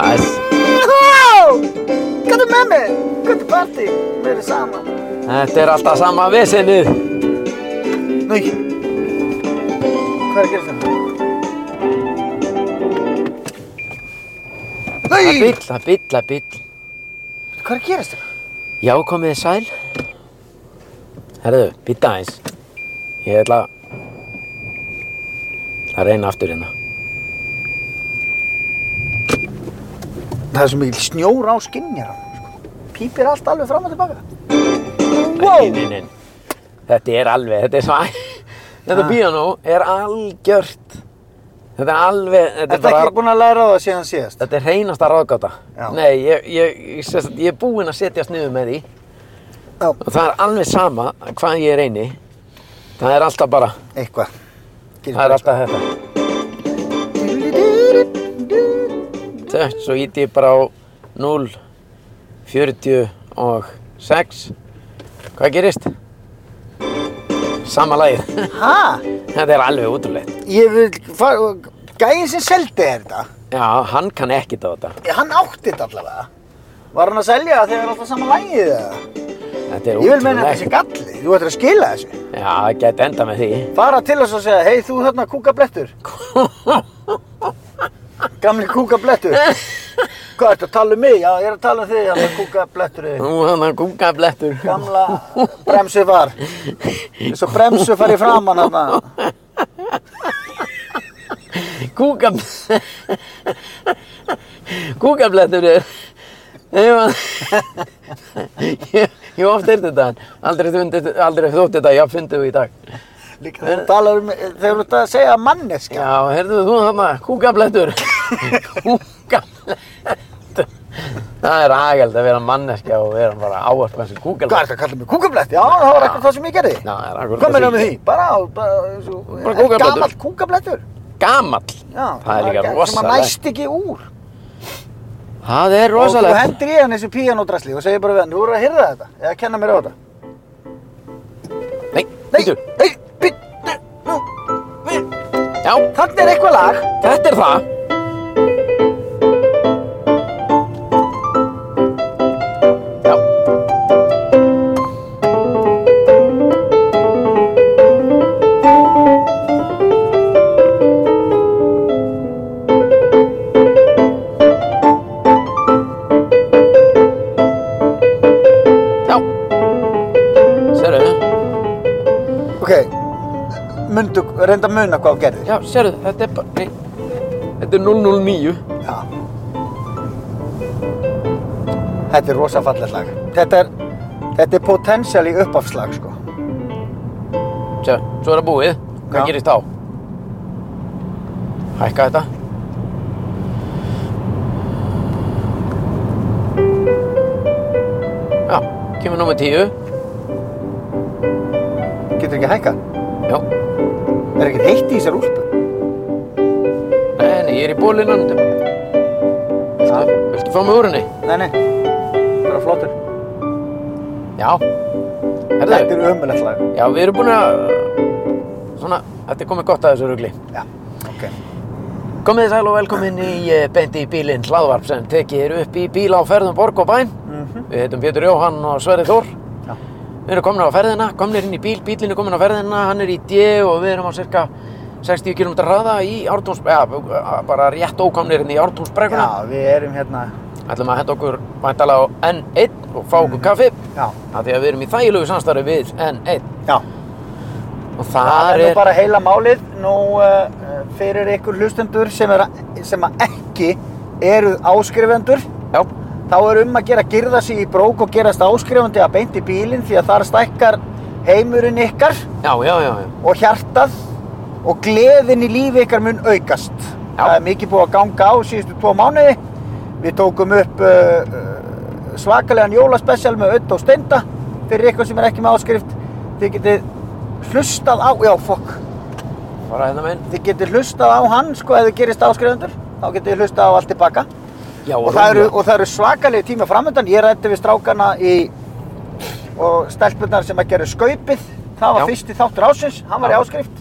Æs, Hvað er með mig? Hvað er partí? Mér er sama. þetta er alltaf sama vesenið. Nei. Hvað er að gera hérna? þetta? Nei! Það er bíll, það er bíll, það er bíll. Hvað er að gerast þetta? Já, komið þið sæl. Herðu, býta aðeins. Ég ætla að... ætla að reyna aftur hérna. Það er svo mikil snjór á skinnjar á honum, sko. Pípir allt alveg fram og tilbaka. Wow! Nei, nei, nei. Þetta er alveg, þetta er svæ... Þetta bíónú er algjört. Þetta er alveg, þetta er Ertu bara... ekki búinn að læra á það síðan síðast? Þetta er hreinasta ráðgáta. Já. Nei, ég, ég, ég, sem sagt, ég er búinn að setjast niður með því Já. og það er alveg sama hvað ég reyni. Það er alltaf bara, Eitthvað. það er alltaf þetta. Þess, svo íti ég bara á 0, 40 og 6. Hvað gerist? Sama lagið. Hæ? þetta er alveg útrúlegt. Ég vil fara... Gæinn sem seldi þér þetta, Já, hann kann ekkert á þetta. ég- hann átti þetta allavega. Var hann að selja það þegar alltaf saman lægið það? Þetta er Ég vil meina að þetta sé útrúlegt. galli. Þú ættir að skila þessu. Já, það gæti enda með því. Fara til þess og segja, hei þú þarna kúkablettur. Gamli kúkablettur. Hvað ertu að tala um mig? Já, ég er að tala um þig, hann kúkabletturinn. Nú, hann að gunga blettur. Gamla bremsu var. Svo bremsu fari framan hann að. Kúka... Kúkablettur er... Ég var... Ég, ég hef oft heyrt þetta, aldrei, fundið, aldrei þótt þetta, ég fundið þú í dag. Líka þegar þú talar um, þegar þú ert að segja manneskja. Já, heyrðu þú þarna, kúkablettur. Kúkablettur. Það er agald að vera manneskja og vera bara ávarpa þessi Hvað kúkablett. ertu að kalla mig kúkablett? Já, það var ekkert það sem ég gerði. Já, það er akkurat Hvað meina það með sem- því? Bara, bara, svo, Bara kúkablettur. Gamall kúkablettur. Gamall. Já. Það er líka Sem að rosalegt. næst ekki úr. Það er Og þú rosalegt. hendir í hann þessu píanódrasli og segir bara við hann, þú voru að hyrða þetta, eða kenna mér á þetta. Nei, Nei, bíddu. nei, byttu, nú, við, Já, þannig er eitthvað lag. þetta er það. Já. Já. Sérðu? Ok, mundu, reynda að muna hvað þú gerðir. Já, sérðu, þetta er bara, nei, þetta er 009. Já. Þetta er rosa fallegt lag. Þetta er, þetta er potential í uppafslag, sko. Sérðu, svo er það búið. Hvað Já. gerist þá? Hækka þetta. Já, kemur nummer 10. Getur ekki að hækka? Já, Er ekki heitt í þessar úlpu? nei, nei, ég er í bólinan. Já. Viltu fá mig úr henni? Nei, nei. Bara flottur. Já. Þetta Herðu, er ömulegt lag. já, við erum búin að, svona, þetta er komið gott að þessu rugli. Já, ok. Komið þið sæl og velkomin í eh, Beint í bílinn hlaðvarp sem tekið er upp í bíla á ferðum Borg og Bæn. Mhm. Við heitum Pétur Jóhann og Sverri Þór. Já. Við erum komin á ferðina, komnir inn í bíl, bílinn er komin á ferðina, hann er í D og við erum á cirka 60 km hraða í Ártúns, ja, bara rétt ókomnir inn í Já, Ártúnsbrekuna. við erum hérna, Ætlum að henda okkur væntalega á N1 og fá okkur kaffi. já, Það því að við erum í þægilegu samstarfi við N1 já. og Það þar er nú er, bara hérna. heila málið nú uh, fyrir ykkur hlustendur sem, er, sem að ekki eru áskrifendur já, þá er um að gera girða sig í brók og gerast áskrifandi að beint í bílinn því að þar stækkar heimurinn ykkar já, já, já, já. og hjartað og gleðin í lífi ykkar mun aukast. Já. Það er mikið búið að ganga á síðustu tvo mánuði. Við tókum upp uh, uh, svakalegan jólaspecial með Ödd og Steinda fyrir ykkur sem er ekki með áskrift. Þið getið hlustað á, já fokk, bara hérna meginn. þið getið hlustað á hann sko ef þið gerist áskrifundur. Þá getið þið hlustað á allt tilbaka. Já, Og það, eru, rúmlega. og það eru svakalegi tíma framöndan. Ég rætti við strákana í og stelpunar sem að gera skaupið. Það var Já. fyrsti þáttur ásins, hann var í Já. áskrift.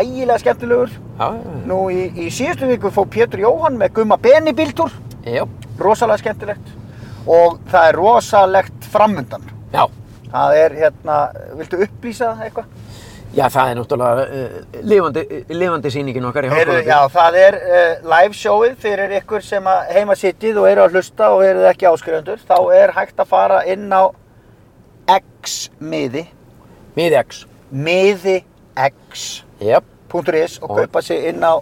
ægilega skemmtilegur. Já, já, Nú í, í síðustu viku fór Pétur Jóhann með Gumma Beni bíltúr, já. já, rosalega skemmtilegt og það er rosalegt framundan. já. Það er hérna, viltu upplýsa það eitthvað? Já, það er náttúrulega uh, lifandi, uh, lifandi sýningin okkar í Heyrðu, Háskólabíó. já, það er uh, live showið fyrir ykkur sem að heima sittið og eru að hlusta og eru ekki áskrifundur. Þá er hægt að fara inn á x-miði, Mið X. miðix.is Jep, og Og- kaupa sig inn á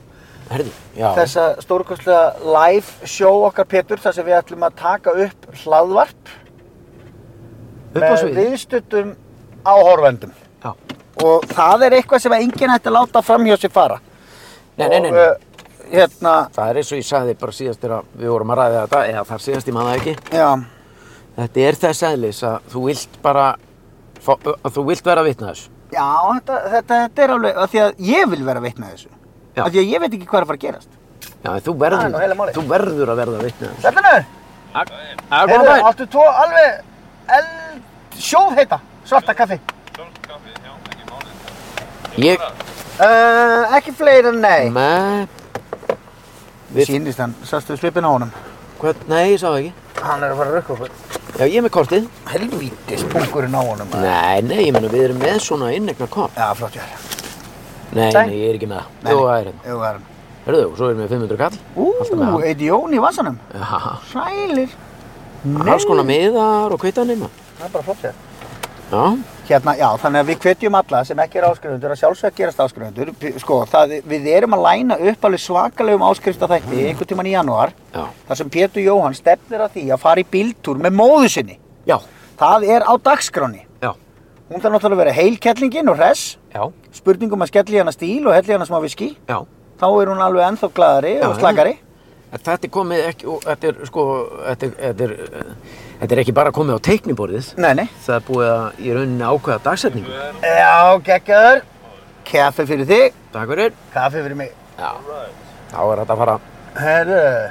herðu, já. þessa stórkostlega live show okkar Pétur þar sem við ætlum að taka upp hlaðvarp Upp á svið. viðstuttum áhorvendum. Já. Og það er eitthvað sem að enginn ætti að láta framhjá sér fara. Nei, nei, nei, Og, nei. uh, hérna, Það er eins og ég sagði bara síðast þegar við vorum að ræða þetta, eða þar síðast ég maður ekki. já. Þetta er þess eðlis að þú vilt bara, fá, að þú vilt vera vitna þessu. Já, þetta, þetta, þetta er alveg, af því að ég vil vera vitna að þessu. Já. Af því að ég veit ekki hvað er að fara að gerast. Já, en þú Það er nú heila verður, málið. þú verður að verða vitna þessu. Sælunur, Það er góðan heyrðu, daginn. áttu tvo alveg eld sjóðheita svarta kaffi? Ég, Uh, ekki fleira, Mm. nei. með, Við- Sýnist hann, sástu svipin á honum. hvað, nei, ég sá það ekki. Hann er að fara að rökka okkur. Já, ég er með kortið. Helvítis pungurinn á honum. maður. Nei, nei, ég menna við erum með svona innegna kort. Já, flott ég er. Nei, Nei. nei, ég er ekki með það. Nei. Jú, það er hérna. Jú, það er hann. Hörðu, og svo erum við 500 kall. Alltaf með Ú, hann. eitt jón í vasanum. Já, Sælir. alls konar miðar og kvittanir maður. Það er bara flott ég er. Já, Hérna, já, þannig að við hvetjum alla sem ekki er áskrifundur að sjálfsög gerast áskrifundur. P- Sko, það, við erum að læna upp alveg svakalegum áskriftafætti einhvern tíman í janúar já, þar sem Pétur Jóhann stefnir að því að fara í bíltúr með móðu sinni. já, Það er á dagskráni. já, Hún þarf náttúrulega að vera heilkellingin og hress, já, spurningum að skelli hana stíl og helli hana smá viski. já. Þá er hún alveg ennþá glæðari Já, og slakari. En Þetta er komið ekki, og þetta er sko, þetta er, þetta er, eh, þetta er ekki bara komið á teikniborðið. Nei, nei. Það er búið að í rauninni ákveða dagsetningu. Já, geggjaður. Kaffi fyrir þig, Takk fyrir. kaffi fyrir mig. Já, þá er þetta að fara. Herru,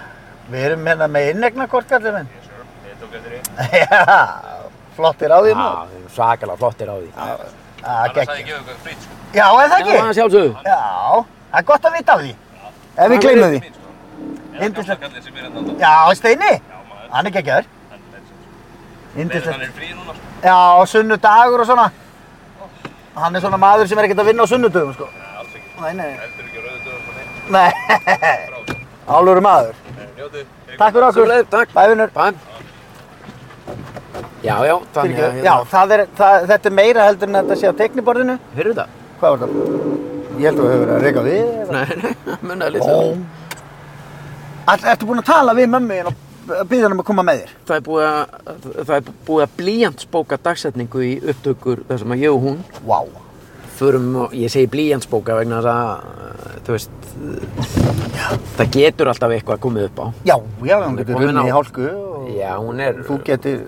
við erum hérna með innegnakort, kallið minn. Já, flottir á því maður. Já, svakalega flottir á því. Já, það Annars gekk. hafði ég gefið ykkur frýt, sko. Já, er það Já, það ekki? sjálfsögðu. Já, það er gott að vita af því. Ef við gleymum því. Mín, sko. Yndislegt. Eða gamla kallið sem er hérna á Já, Steini, maður. hann er geggjaður. Hann er- Nei, Hann Yndislegt. er frí núna, sko. Já, sunnudagur og svona. Hann er svona maður sem er ekkert að vinna á sunnudögum, sko. Nei, alls ekki. Nei, nei, Heldur ekki sko, rauðu dögum og neitt, nei. frá þessu. Álur maður. Nei, Njótið. Takk fyrir okkur. Sömuleiðis, takk. Bæfinur. Bæm. Já, já, þannig að, hérna- Já, það er, það, þetta er meira heldur en þetta sé á tekniborðinu. Hörru þetta? Hvað var það? Ég held að við höfum verið að reyka við. eða- Nei, nei, munnaði lítið. Bóm. All, ertu búinn að tala við mömmu hérna og byggja hann um að koma með þér? Það er búið að, það er búið að blíjantsbóka dagsetningu í upptökur þar sem að ég og hún Vá. förum og ég segi blíjantsbóka vegna þess að, eh, þú veist, það getur alltaf eitthvað komið upp á. Já, já, hún er getur komin runni á- í hálku og Já, hún er þú getur,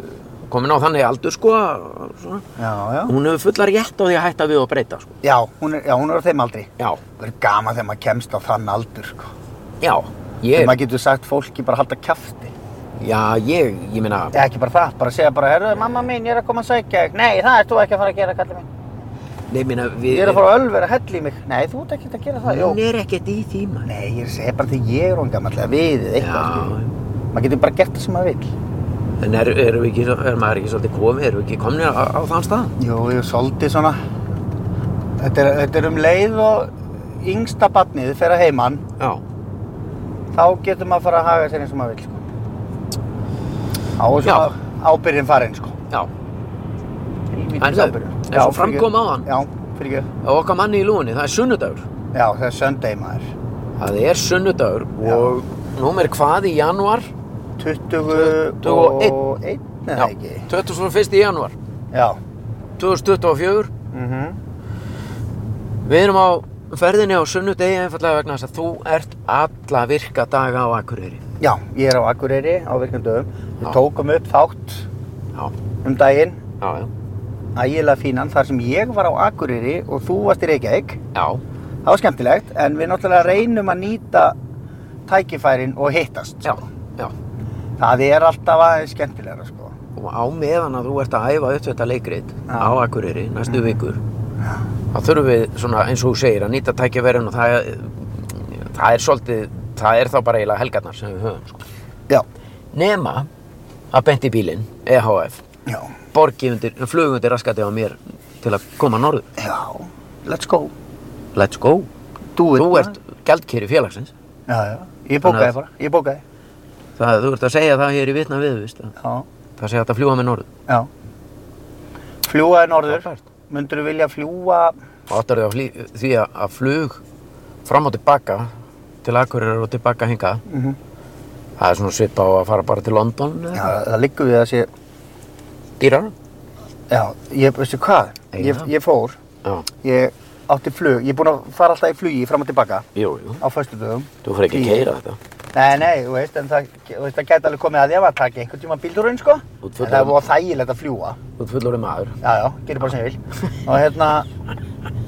komin á þannig aldur, sko, að- svona. já, já. Hún hefur fullar rétt á því að hætta við og breyta, sko. Já, hún er, já, hún er á þeim aldri. Já, Það er gaman þegar maður kemst á þann aldur, sko. já, Þegar ég, maður getur sagt fólki bara að halda kjafti. já, ég, ég meina, Já, ekki bara það, bara segja bara, herru, mamma mín, ég er að koma að sækja þig. Nei, það ert þú ekki að fara að gera, kallið mín. nei, meina, við... Ég er að fara að ölver að hella í mig. Nei, þú ert ekki að gera það, Hún jú. er ekkert í því, maður. Nei, ég er að segja bara því ég er hún gammal, eða við eða eitthvað, sko. Já, skilur. Maður getur bara gert það sem maður vil. en er, erum við ekki, svo- er maður ekki svolítið komið, erum við ekki komnir á, á þann stað? Jú, ég svolítið svona þetta er, þetta er um leið og yngsta barnið fer að heiman Já, þá getur maður að fara að haga sér eins og maður vil sko. Þá er svona ábyrðin farin sko. já, En Helvítis það- ábyrgðin. eins og Já, fram fyrirgefðu. kom áðan. Já, fyrir ekki á okkar manni í lúinni, það er sunnudagur. Já, það er söndegi maður Það er sunnudagur Já. og númer hvað í janúar? 21 og og 1 eða ekki 21. janúar Já, 2024. mhm Við erum á ferðinni á sunnudegi einfallega vegna þess að þú ert alla virka daga á Akureyri. Já, ég er á Akureyri á virkum dögum Já. Við tókum upp þátt Já, um daginn já, já. ægilega fínan þar sem ég var á Akureyri og þú varst í Reykjavík Já, Það var skemmtilegt, en við náttúrulega reynum að nýta tækifærin og hittast. já, já. Það er alltaf aðeins skemmtilegra, sko. Og á meðan að þú ert að æfa upp þetta leikrit Já. Mm. á Akureyri næstu vikur, þá þurfum við svona eins og þú segir að nýta tækjaverðin og það, það er svolítið, það er þá bara eiginlega helgarnar sem við höfum sko. Já, Nema að benti bílinn, EHF, já, borgi undir, flugu undir raskati á mér til að koma norður. já, let's go, Let's go. do it. Þú bara. ert gjaldkeri félagsins. Já, já, Þannig ég að- bókaði bara, ég bókaði, Það, þú ert að segja það hér í vitna við, veist það. já, Það segja þetta að fljúa með norður. já. Fljúaði norður, Frábært. myndur þú vilja fljúa, Og áttar þau því að, að flug fram og tilbaka til Akureyrar og tilbaka hinga. mm Það er svona svipa á að fara bara til London. já, það liggur við að sé, Dýrar? já, ég, veistu hvað, ég, Eiginlega. ég fór, Já. ég átti flug, ég er búinn að fara alltaf í flugi fram og tilbaka Jú, jú. á föstudögum. Þú fyrir ekki að Flugi. keira þetta. Nei, nei, þú veist, en það, þú veist, það gæti alveg komið að ég var að taka einhvern tíma bíldurinn, sko. Út En fullur. það er búið þægilegt að fljúa. Þú ert fullorðið maður. Já, já, gerir bara sem ég vil. Og hérna,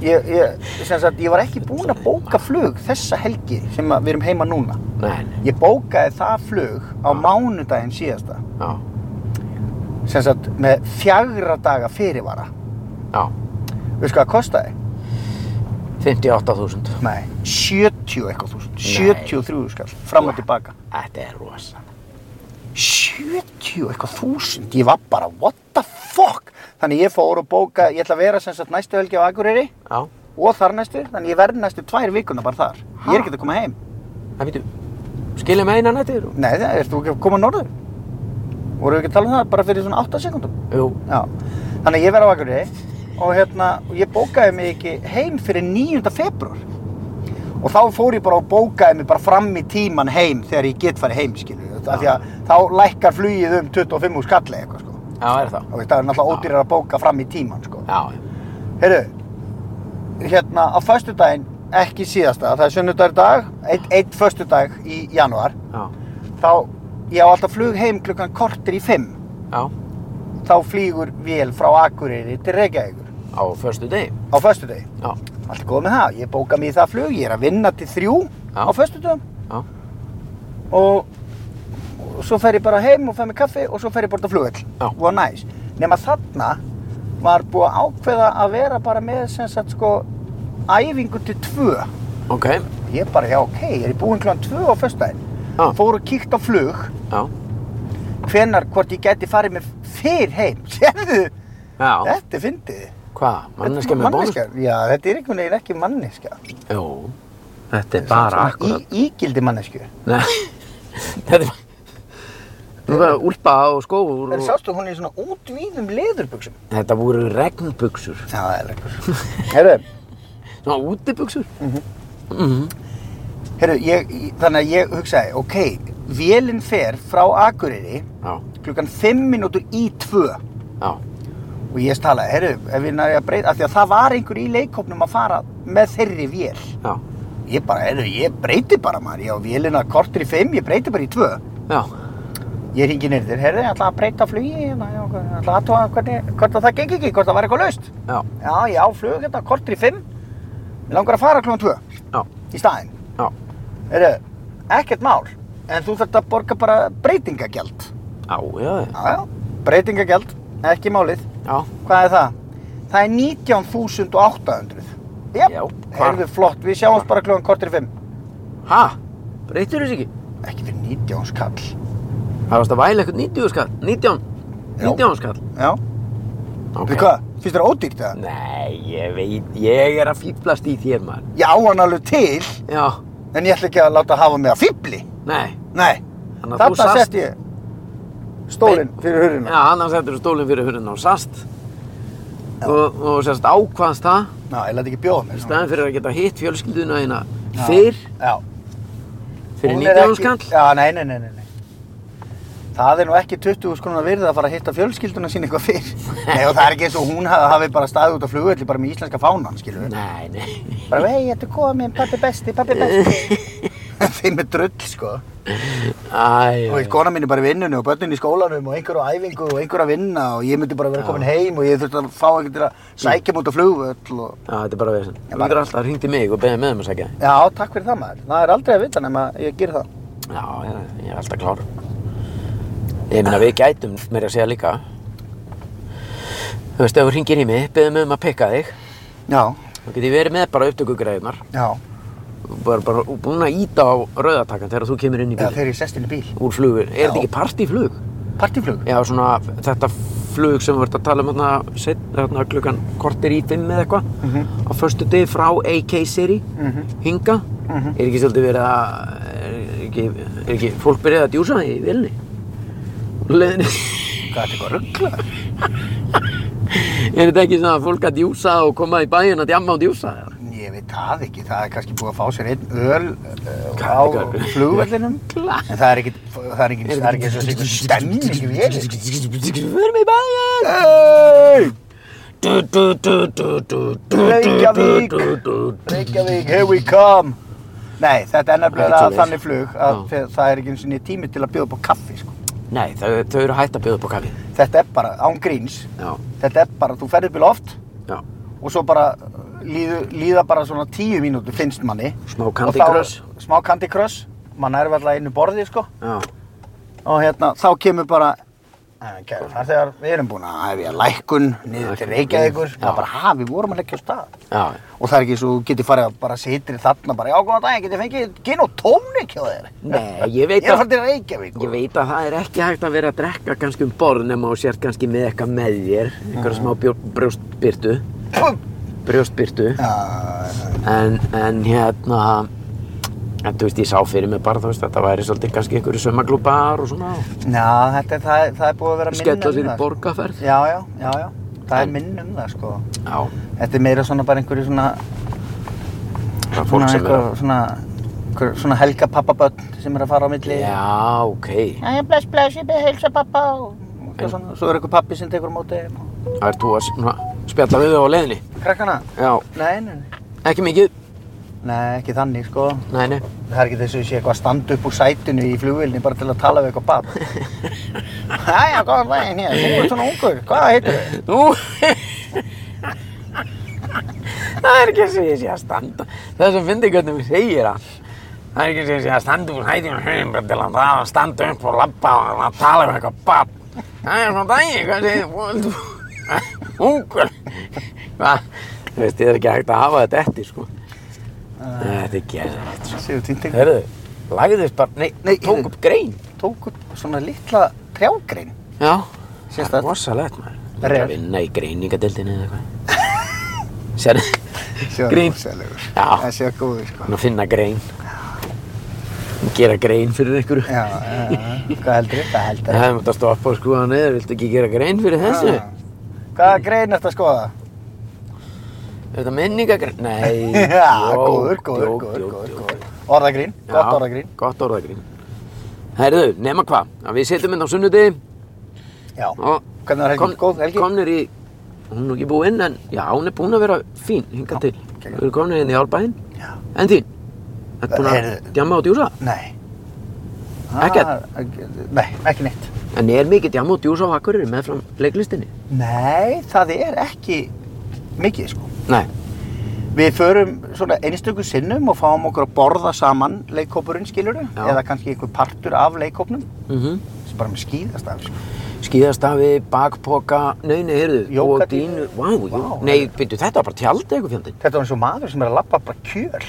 ég, ég, sem sagt, ég var ekki búinn að bóka flug þessa helgi sem að við erum heima núna. Nei, nei. Ég bókaði það flug á mánudaginn síðasta. Já. Sem sagt, með fjagra daga fyrirvara. Já. Veistu hvað það kostaði? 58.000. Nei, 70 eitthvað þúsund. 73 skall, fram og tilbaka. Þetta er rosa. 70 eitthvað þúsund, ég var bara, what the fuck? Þannig ég fór og bóka, ég ætla að vera sem sagt næstu helgi á Akureyri Já. og þar næstu, þannig ég verð næstu tvær vikuna bara þar. Ég er ekki að koma heim. Það býtu, skilja með einan nættir? og- Nei, það ertu ekki að koma norður. Voru við ekki að tala um það bara fyrir svona 8 sekundum? Jú. Já. Þannig að ég verð á Akureyri og hérna, og ég bókaði mig ekki heim fyrir 9. februar. Og þá fór ég bara og bókaði mig bara fram í tíman heim þegar ég get farið heim, skilur. Af því að þá lækkar flugið um 25 úr skalli eitthvað, sko. Já, er það. Og það er náttúrulega ódýrar að bóka fram í tíman, sko. Já. Heyrðu, hérna á föstudaginn, ekki síðasta, það er sunnudagur í dag, einn ein föstudag í janúar, Já. þá ég á alltaf flug heim klukkan kortir í fimm Já. þá flýgur vél frá Akureyri til Reykjavíkur Á förstu degi. á föstudegi Já. allt er góð með það, ég bóka mig í það flug ég er að vinna til þrjú Já. á föstudegum Já. og, og svo fer ég bara heim og fer mig kaffi og svo fer ég bara á flugvöll Já. og næs, nema þarna var búið að ákveða að vera bara með sem sagt sko æfingu til tvö Ok. ég bara, já ok, ég er í búin klán tvö á föstudaginn Já. fór og kíkt á flug Já. hvenar hvort ég geti farið með fyrr heim sérðu, Já. þetta er fyndið Hvað? Manneskja Þetta með er bónus? manneskja. Já, þetta er einhvern veginn ekki manneskja. Jú. Þetta er bara akkurat. Í, ígildi manneskju. Nei. Þetta er... Nú það er úlpa og skóur Það er og... sástu, hún er í svona útvíðum leðurbuxum. Þetta voru regnbuksur. Það er leikur. Herru, Svona Mhm. útibuksur. herru, ég, ég- þannig að ég hugsaði, ok, vélinn fer frá Akureyri Já. klukkan 5 mínútur í 2 Já. og ég talaði, herru, ef ég næði að breyta, af því að það var einhver í leikopnum að fara með þeirri vél. Já. Ég bara, herru, ég breyti bara maður, ég á vélina kortur í 5, ég breyti bara í 2. Já. Ég ringi niður þér, herðu, ég ætla að breyta flugi, hérna, já, ég ætla að aðtóa hvernig, hvort að það gengi ekki, hvort það var eitthvað laust. Já. Já, ég á flug hérna, kortur í fimm, ég langar að fara klúan tvö Já. í staðinn. Já. Herðu, ekkert mál, en þú þarft að borga bara breytingagjald. Já, já, já. Já, já, breytingagjald, ekki málið. Já. Hvað er það? Það er 19.800. Jep, Já, hvar? herðu, flott, við sjáumst bara klúan kortur í fimm. Ha? Breytur þessu ekki? Ekki fyrir 19 skall. Það varst að væla eitthvað 90 skall, 19, Já. 19 skall. Já, Ok. Mm. okay. hvað, finnst þér ódýrt það? Nei, ég veit, ég er að fýblast í þér maður. Ég á hann alveg til, Já, en ég ætla ekki að láta hafa mig að fýbli. nei. Nei, Þannig að þú þarna sast- sett ég stólinn fyrir hurðina. Já, annars settur stólinn fyrir hurðina og sast. Og, og sérst ákvaðast það, Ná, ég læti ekki bjóða mér. sko. í staðin fyrir að geta hitt fjölskylduna þína Já. fyrr, Já. fyrir Hún er 19 ekki- skall. Já, nei, nei, nei, nei. nei. Það er nú ekki 20 skrona virði að fara að hitta fjölskylduna sín eitthvað fyrr. Nei, og það er ekki eins og hún hafi, hafi bara staðið út á flugvelli bara með íslenska fánan, skilur við. Nei, nei. Bara, hei, þetta er komin, pappi besti, pappi besti. Þeim er drull, sko. Æ, Og veit, kona mín er bara í vinnunni og börnin í skólanum og einhver á æfingu og einhver að vinna og ég myndi bara vera komin heim og ég þurfti að fá einhvern til að sækja mútið á flugvöll og... Já, þetta er bara veginn. Ég Þú bara- getur alltaf að ringdi mig og beðið með um að segja. Já, takk fyrir það maður. Það er aldrei að vita nema ég ger það. Já, já, ég er alltaf klár. Ég meina við gætum mér að segja líka. Þú veist, ef þú ringir í mig, beðið mig um að pikka þig. Já. Þá get ég verið með bara upptökugræðunar Já, bara, bara búin að íta á rauðatakan þegar þú kemur inn í eða bíl þegar ég sest inn í bíl. úr flugvél, er þetta Já. ekki partíflug? Partíflug? Já, svona þetta flug sem við vart að tala um þarna, set, þarna klukkan kortir í fimm eða eitthvað Mhm, á föstu degi frá AK-seri hinga, er ekki svolítið verið að er ekki, er ekki fólk byrjað að djúsa í vilni leðinni Hvað er þetta eitthvað rugglaður? er þetta ekki svona fólk að djúsa og koma í bæinn að djamma og djúsa eða? Ég veit það ekki, það er kannski búið að fá sér einn öl uh, Hvað á er þetta? flugvellinum. Klart. En það er ekki, það er ekki, það er ekki eins og þessi einhver stemning við erum. Förum í bæinn Hey! Du, du, du, du, du, du, Reykjavík. du, du, du, du. Reykjavík, here we come! Nei, þetta er nefnilega Ekkert svoleiðis. þannig flug að þe- það er ekki eins og niður tími til að bjóða upp á kaffi, sko. Nei, þau, þau eru hætt að bjóða upp á kaffi Þetta er bara, án gríns, Já, þetta er bara, þú ferðir bíl oft já, og svo bara líðu, líða bara svona tíu mínútur finnst manni. smá Og Candy þá- Crush Smá Candy Crush, mann er alltaf innu borði, sko. Já, og hérna, þá kemur bara "En kæru farþegar, við erum búin að hefja lækkun niður til Reykjavíkur Já. það er bara, ha, við vorum að leggja á stað já, og það er ekki svo, þú getur farið að bara sitri þarna bara, já, góðan dag, getur fengið gin og tónik hjá þér Nei, ég veit ég er að að, fara til Reykjavík ég veit að það er ekki hægt að vera að drekka kannski um borð nema og sért kannski með eitthvað með þér, einhverja smá bjó- brjóstbirtu, brjóstbirtu, já, en, en hérna, en þú veist, ég sá fyrir mig bara, þú veist, þetta væri svolítið kannski einhverju sömaglúpar og svona, og já, þetta er, það, er- það er búið að vera minn skella sér í það, sko. borgarferð. já, já, já, já, En- það er minn um það, sko Já, þetta er meira svona bara einhverju svona það er fólk sem er að, einhver, svona, einhver, svona helga pappaböll sem er að fara á milli já, ok, Jæja, bless, bless, ég beði heilsa pappa og En- og svona. Svo er eitthvað pappi sem tekur á móti þeim og... það er þú að svona, spjalla við þau á leiðinni, Krakkana? já, Nei, nei, nei. ekki mikið, Nei, ekki þannig, sko. nei, nei, Það er ekki þess að sé eitthvað að standa upp úr sætinu í flugvilni bara til að tala við eitthvað barn. Jæja, góðan daginn hér. Þú ert svona ungur. Hvað heitir þau? Nú Það er ekki eins og ég sé að standa Það sem fyndi hvernig við segir það Það er ekki eins og ég sé að standa úr hætinu hrein bara til að það að standa upp og labba og að tala um eitthvað bann Það er svona dagi, hvað segir þið? Ungur Hvað? Þú veist, þið er ekki hægt að hafa þetta eftir, sko Nei, Þetta er gerðilegt, sko Sigur Ah, Tintin Herðu, lagðist bara, nei, Nei, tók heyrðu. upp grein tók upp svona litla trjágrein. Já Sést Það er það? rosalegt maður. Það er Ref. að vinna í greiningadeildinni eða eitthvað. Sérðu? Grín. Ah. Sérlegur. Já. Það sé góður, sko. Hann að finna grein. Gera grein fyrir einhverju. Já, já, já. Hvað heldur þið? Hvað heldur Það hefði mútt að stoppa og skrúa hann niður, viltu ekki gera grein fyrir þessu? Hvaða grein ertu að skoða? Er þetta minningagrein? Nei, Já, djók, góður, góður, djók, góður, djók, góður, djók. góður. Orðagrín, gott Já, orðagrín. Gott orðagrín. Herðu, nema hvað, að við setjum hérna á sunnudegi Já. og Hvernig var helgin? Góð helgi? komnir í, hún er nú ekki búinn en, já, hún er búin að vera fín hingað til. Við geggjað. erum komnir hérna í Árbæinn, Já. en þín, ertu búin að Heyrðu. djamma og djúsa? Nei. Ekkert? Ah, Nei, ekki neitt. En er mikið djamma og djús á Akureyri meðfram leiklistinni? Nei, það er ekki mikið, sko. Nei. Við förum svona einstöku sinnum og fáum okkur að borða saman leikhópurinn, skilurðu? Já. Eða kannski einhver partur af leikhópnum Mm sem bara með skýðast af, sko. Skíðastafi, bakpoka, nei, nei, heyrðu, Jókadínu. og dínu, vá, jú, Vá, nei, byrju, þetta var bara tjald eitthvað fjandinn. Þetta var eins og maður sem er að labba bara kjöl.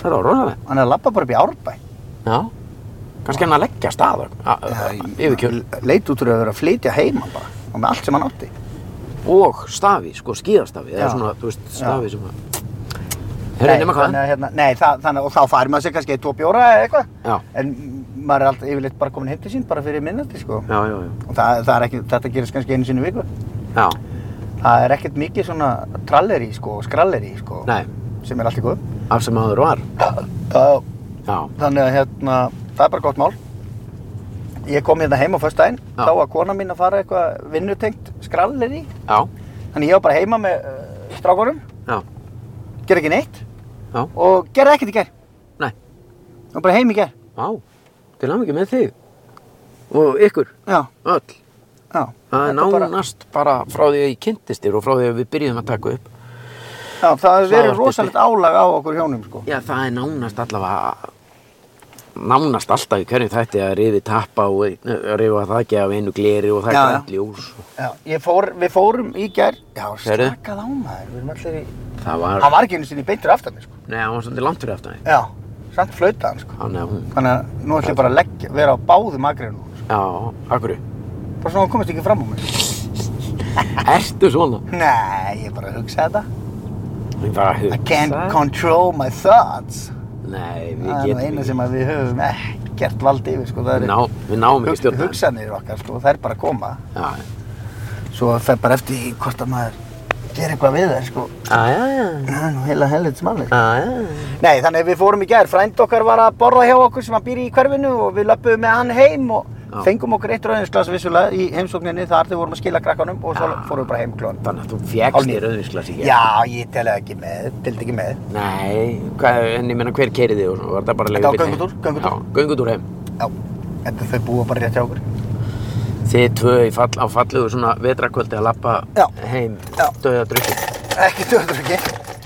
Það var rosalega. Hann er að labba bara upp í árbæ. Já. Kannski hann að leggja af stað, a- a- yfir kjöl. Leit út úr að vera að flytja heima bara og með allt sem hann átti. Og stafi, sko, skíðastafi, það Já. er svona, þú veist, stafi sem að... Nei, Heyrðu, nema hvað? þannig að hérna, nei, það, þannig, og þá fær maður sér kannski eitt, tvo bjóra eða eitthvað. Já, En maður er alltaf yfirleitt bara komin heim til sín, bara fyrir minnandi, sko. já, já, já. Og það, það er ekki, þetta gerist kannski einu sinni í viku. Já, Það er ekkert mikið svona tralleri, sko, og skralleri, sko. nei, Sem er allt í góð. af sem áður var. Það, Já, þannig að hérna, það er bara gott mál. Ég kom hérna heim á föstudaginn, Já. þá var kona mín að fara eitthvað vinnutengt skralleri. já, Þannig ég var bara heima með uh, strákunum, já, gerði ekki neitt Já. og gerði ekkert í gerð. Nei. Og bara heim í gerð. vá, til að með þig. Og ykkur, Já, öll. já. Það er Þetta bara- nánast bara... frá því að ég kynntist þér og frá því að við byrjuðum að taka upp. Já, það hefur verið Svavar rosalegt álag á okkur hjónum, sko. Já, það er nánast allavega, nánast alltaf í hverjum þætti að rifi tappa og eh, rifa það ekki af einu gleri og það er Já, já. grænt ljós. Já, ég fór, við fórum í gær. Já, Heyrðu. slakað á maður, við erum allir í Það var, Hann var ekki einu sinni beintur aftan mér, sko. nei, hann var svolítið langt fyrir aftan þig. Já, samt flautaði hann, sko. Þannig að hún, Þannig að nú ætlum ég bara að leggja, vera á báðum agrinu. já, akkurru. Bara svona að hann komist ekki fram á mig. Ertu svona? Nei, ég bara hugsa þetta. Ég bara hugsa. I can't control my thoughts. Nei, við Það er nú getum eina sem að við höfum ekkert vald yfir, sko. Það Við, er ná, við náum ekki stjórna. hugsanir okkar, sko. Það er bara að koma. Já, Svo fer bara eftir því hvort að maður gerir eitthvað við þær, sko. já, já, já, Það er nú heila helvits mannir. já, já. Nei, þannig að við fórum í gær, frænd okkar var að borða hjá okkur sem að býr í hverfinu og við löpum með hann heim og Já. fengum okkur eitt rauðinsglas vissulega í heimsókninni þar þegar við vorum að skila krakkanum og svo Já. fórum við bara heim klón. Þannig að þú Hálf fjækst níu. í rauðvísklasi ekki? Já, ég telði ekki með, teldi ekki með. Nei, hvað, en ég meina hver keiri þig og svo, var það bara að Þetta lega var bílnum? göngutúr, göngutúr. Já, göngutúr heim. Já, þetta þau búa bara rétt hjá okkur. Þið tvö í fall, á fallegu svona vetrakvöldi að lappa Já. heim, Já. döða drukki. Ekki döður ekki.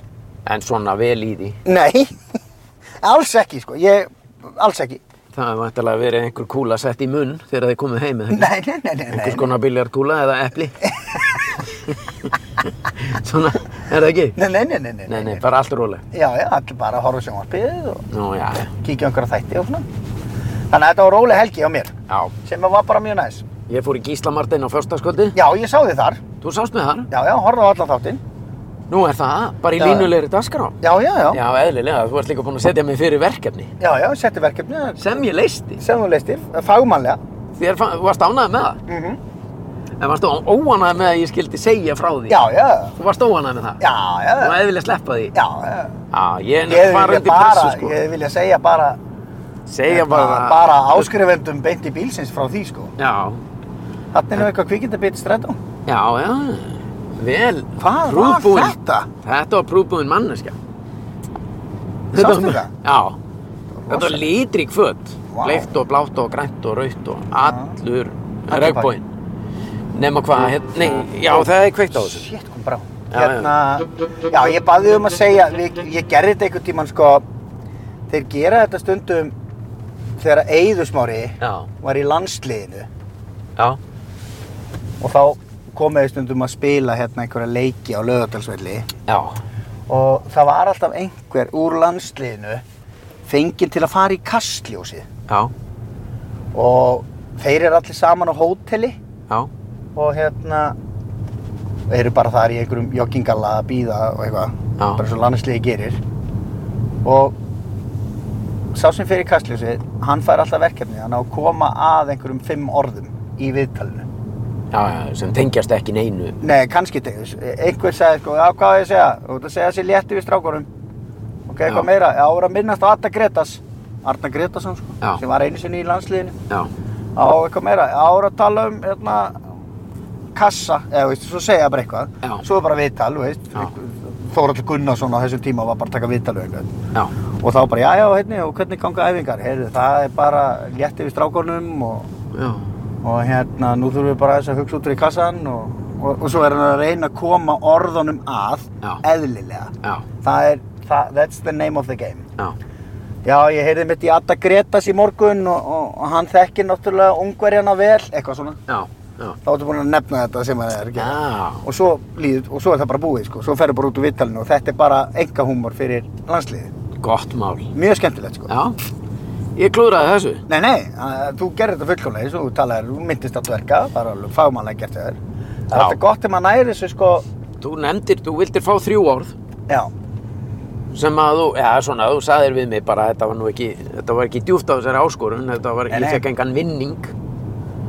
En svona vel í því. Nei, alls ekki sko, ég, alls ekki. Það er vantilega verið einhver kúla sett í munn þegar þið komið heim með Nei, nei, nei, nei, Einhvers nei. konar biljarkúla eða epli. svona, er það ekki? Nei, nei, nei, nei, nei. Nei, nei, bara allt róleg. Já, já, allir bara að horfa sjónvarpið og Nú, já, já. kíkja á einhverja þætti og svona. Þannig að þetta var róleg helgi á mér, já. sem var bara mjög næs. Ég fór í Gíslamartin á förstaskvöldi. Já, ég sá þið þar. Þú sást með þar. Já, já, horfðu á alla þáttinn. Nú er það, bara í Já. línulegri dagskrá. Já, já, já. Já, eðlilega, þú ert líka búin að setja mig fyrir verkefni. Já, já, setti verkefni Sem ég leisti. sem þú leistir, fagmannlega. Þér fa- varst ánægð með það. Mm En varst óánægð með að ég skildi segja frá því. Já, já, Þú varst óánægð með það. já, já, Þú já, eðlilega sleppa því. já. já. Já, ég er Ég hefði nefnilega bara vilja undir pressu, bara, sko. ég hefði vilja segja bara, hérna, Segja bara... bara áskrifendum beint í bílsins frá því, sko. Já, Þarna er nú eitthvað kvikindabit strætó. já, já. Vel. Hvað var prúðbúin. þetta? Þetta var prúbúin manneska. Sástu það? Já. Þetta var Rosa. lítrik föt, Vá. bleikt og blátt og grænt og raut og allur Allir regnbóinn. Nema hvað, hérna, nei, já það er kveikt á þessu. Shit, kom brá. Já, Hérna, já, ég baði um að segja, við, ég gerði þetta einhvern tímann, sko, þeir gera þetta stundum þegar Eiðusmári Já, var í landsliðinu. já, og þá komið við stundum að spila hérna einhverja leiki á lögadalsvelli já, og það var alltaf einhver úr landsliðinu fenginn til að fara í kastljósið já, og þeir eru allir saman á hóteli já, og hérna eru bara þar í einhverjum joggingalla að býða og eitthvað Já. bara svo landsliði gerir og sá sem fyrir kastljósið hann fær alltaf verkefni hann á að koma að einhverjum fimm orðum í viðtalinu já, já, sem tengjast ekki neinu. Nei, kannski tegis. Einhver sagði, sko, já, hvað á ég að segja? Þú ert að segja sér létti við strákurum. Ok, Já. eitthvað meira. Já, voru að minnast á Arna Gretas. Arna Gretason, sko, Já. sem var einu sinni í landsliðinu. Já, Já, eitthvað meira. Já, voru að tala um, hérna, kassa, eða, veist, svo segja bara eitthvað. Já. Svo er bara viðtal, þú veist. Já. Þóraldur Gunnarsson á þessum tíma var bara að taka viðtal við einhvern. já, Og þá bara, já, já, hérna, og hvernig ganga æfingar? Heyrðu, það er bara létti við strákunum og já, og hérna nú þurfum við bara aðeins að hugsa út fyrir kassan og, og, og svo er hann að reyna að koma orðunum að Já. eðlilega já, það er, það, that's the name of the game já, já ég heyrði mitt í Adda Gretas í morgun og, og, og hann þekkir náttúrulega ungverjana vel eitthvað svona já, já, þá ertu búin að nefna þetta sem hann er að gera já, og svo líður, og svo er það bara búið sko svo ferðu bara út úr vittalinu og þetta er bara enga húmor fyrir landsliðið gott mál. mjög skemmtilegt sko Já, ég klúðraði þessu. Nei, nei, að- þú gerir þetta fullkomlega eins og þú talar, þú myndist að verka, bara alveg fagmannlega gert hjá þér. Það er Já. alltaf gott ef maður næri þessu sko, Þú nefndir, þú vildir fá þrjú orð já, sem að þú, já svona, þú saðir við mig bara að þetta var nú ekki, þetta var ekki djúft á þessari áskorun, þetta var, Nei, ég nei. fekk engan vinning.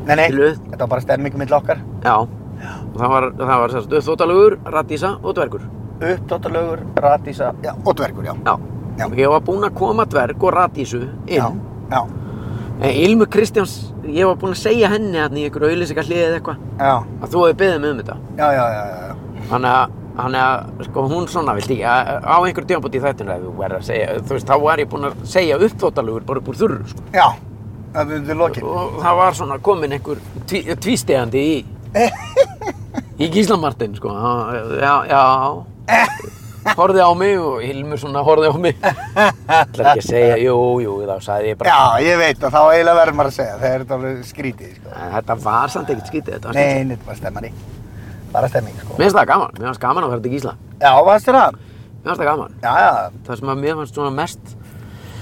nei, nei, Skilurðu? þetta var bara stemming mitt okkar, Já, og það var, það var sérst, þóttalugur, radísa og dvergur. uppdóttalögur, radísa, já, og dvergur, já. Já. Já. Ég var búinn að koma dverg og radísu Já, inn. já, En Ilmu Kristjáns, ég var búinn að segja henni hérna í einhverju auðlýsingar hlið eða eitthvað já, að þú hefði beðið mig um þetta. já, já, já, já, já. Þannig að, þannig að, sko, hún svona vildi ekki, að- á einhverju tímabóti í þættinu að þú verður að segja, þú veist, þá var ég búinn að segja uppþóttalugur bara upp úr þurru, sko. Já, það er undir lokin. Og það var svona kominn einhver tví, tvístegandi í, í Gíslamartin, sko. Hann- Já, já, horfði á mig og Hilmur svona horfði á mig. ætlar ekki að segja, jú, jú, þá sagði ég bara. Já, ég veit og þá eiginlega verður maður að segja, það er þetta alveg skrítið, sko. En Þetta var samt ekkert skítið, þetta var Nei, þetta var stemmari, bara stemming, sko. Mér finnst það gaman, mér finnst gaman að vera til Gísla. Já, varstu það? Mér fannst það gaman. Já, já, Það sem að mér fannst svona mest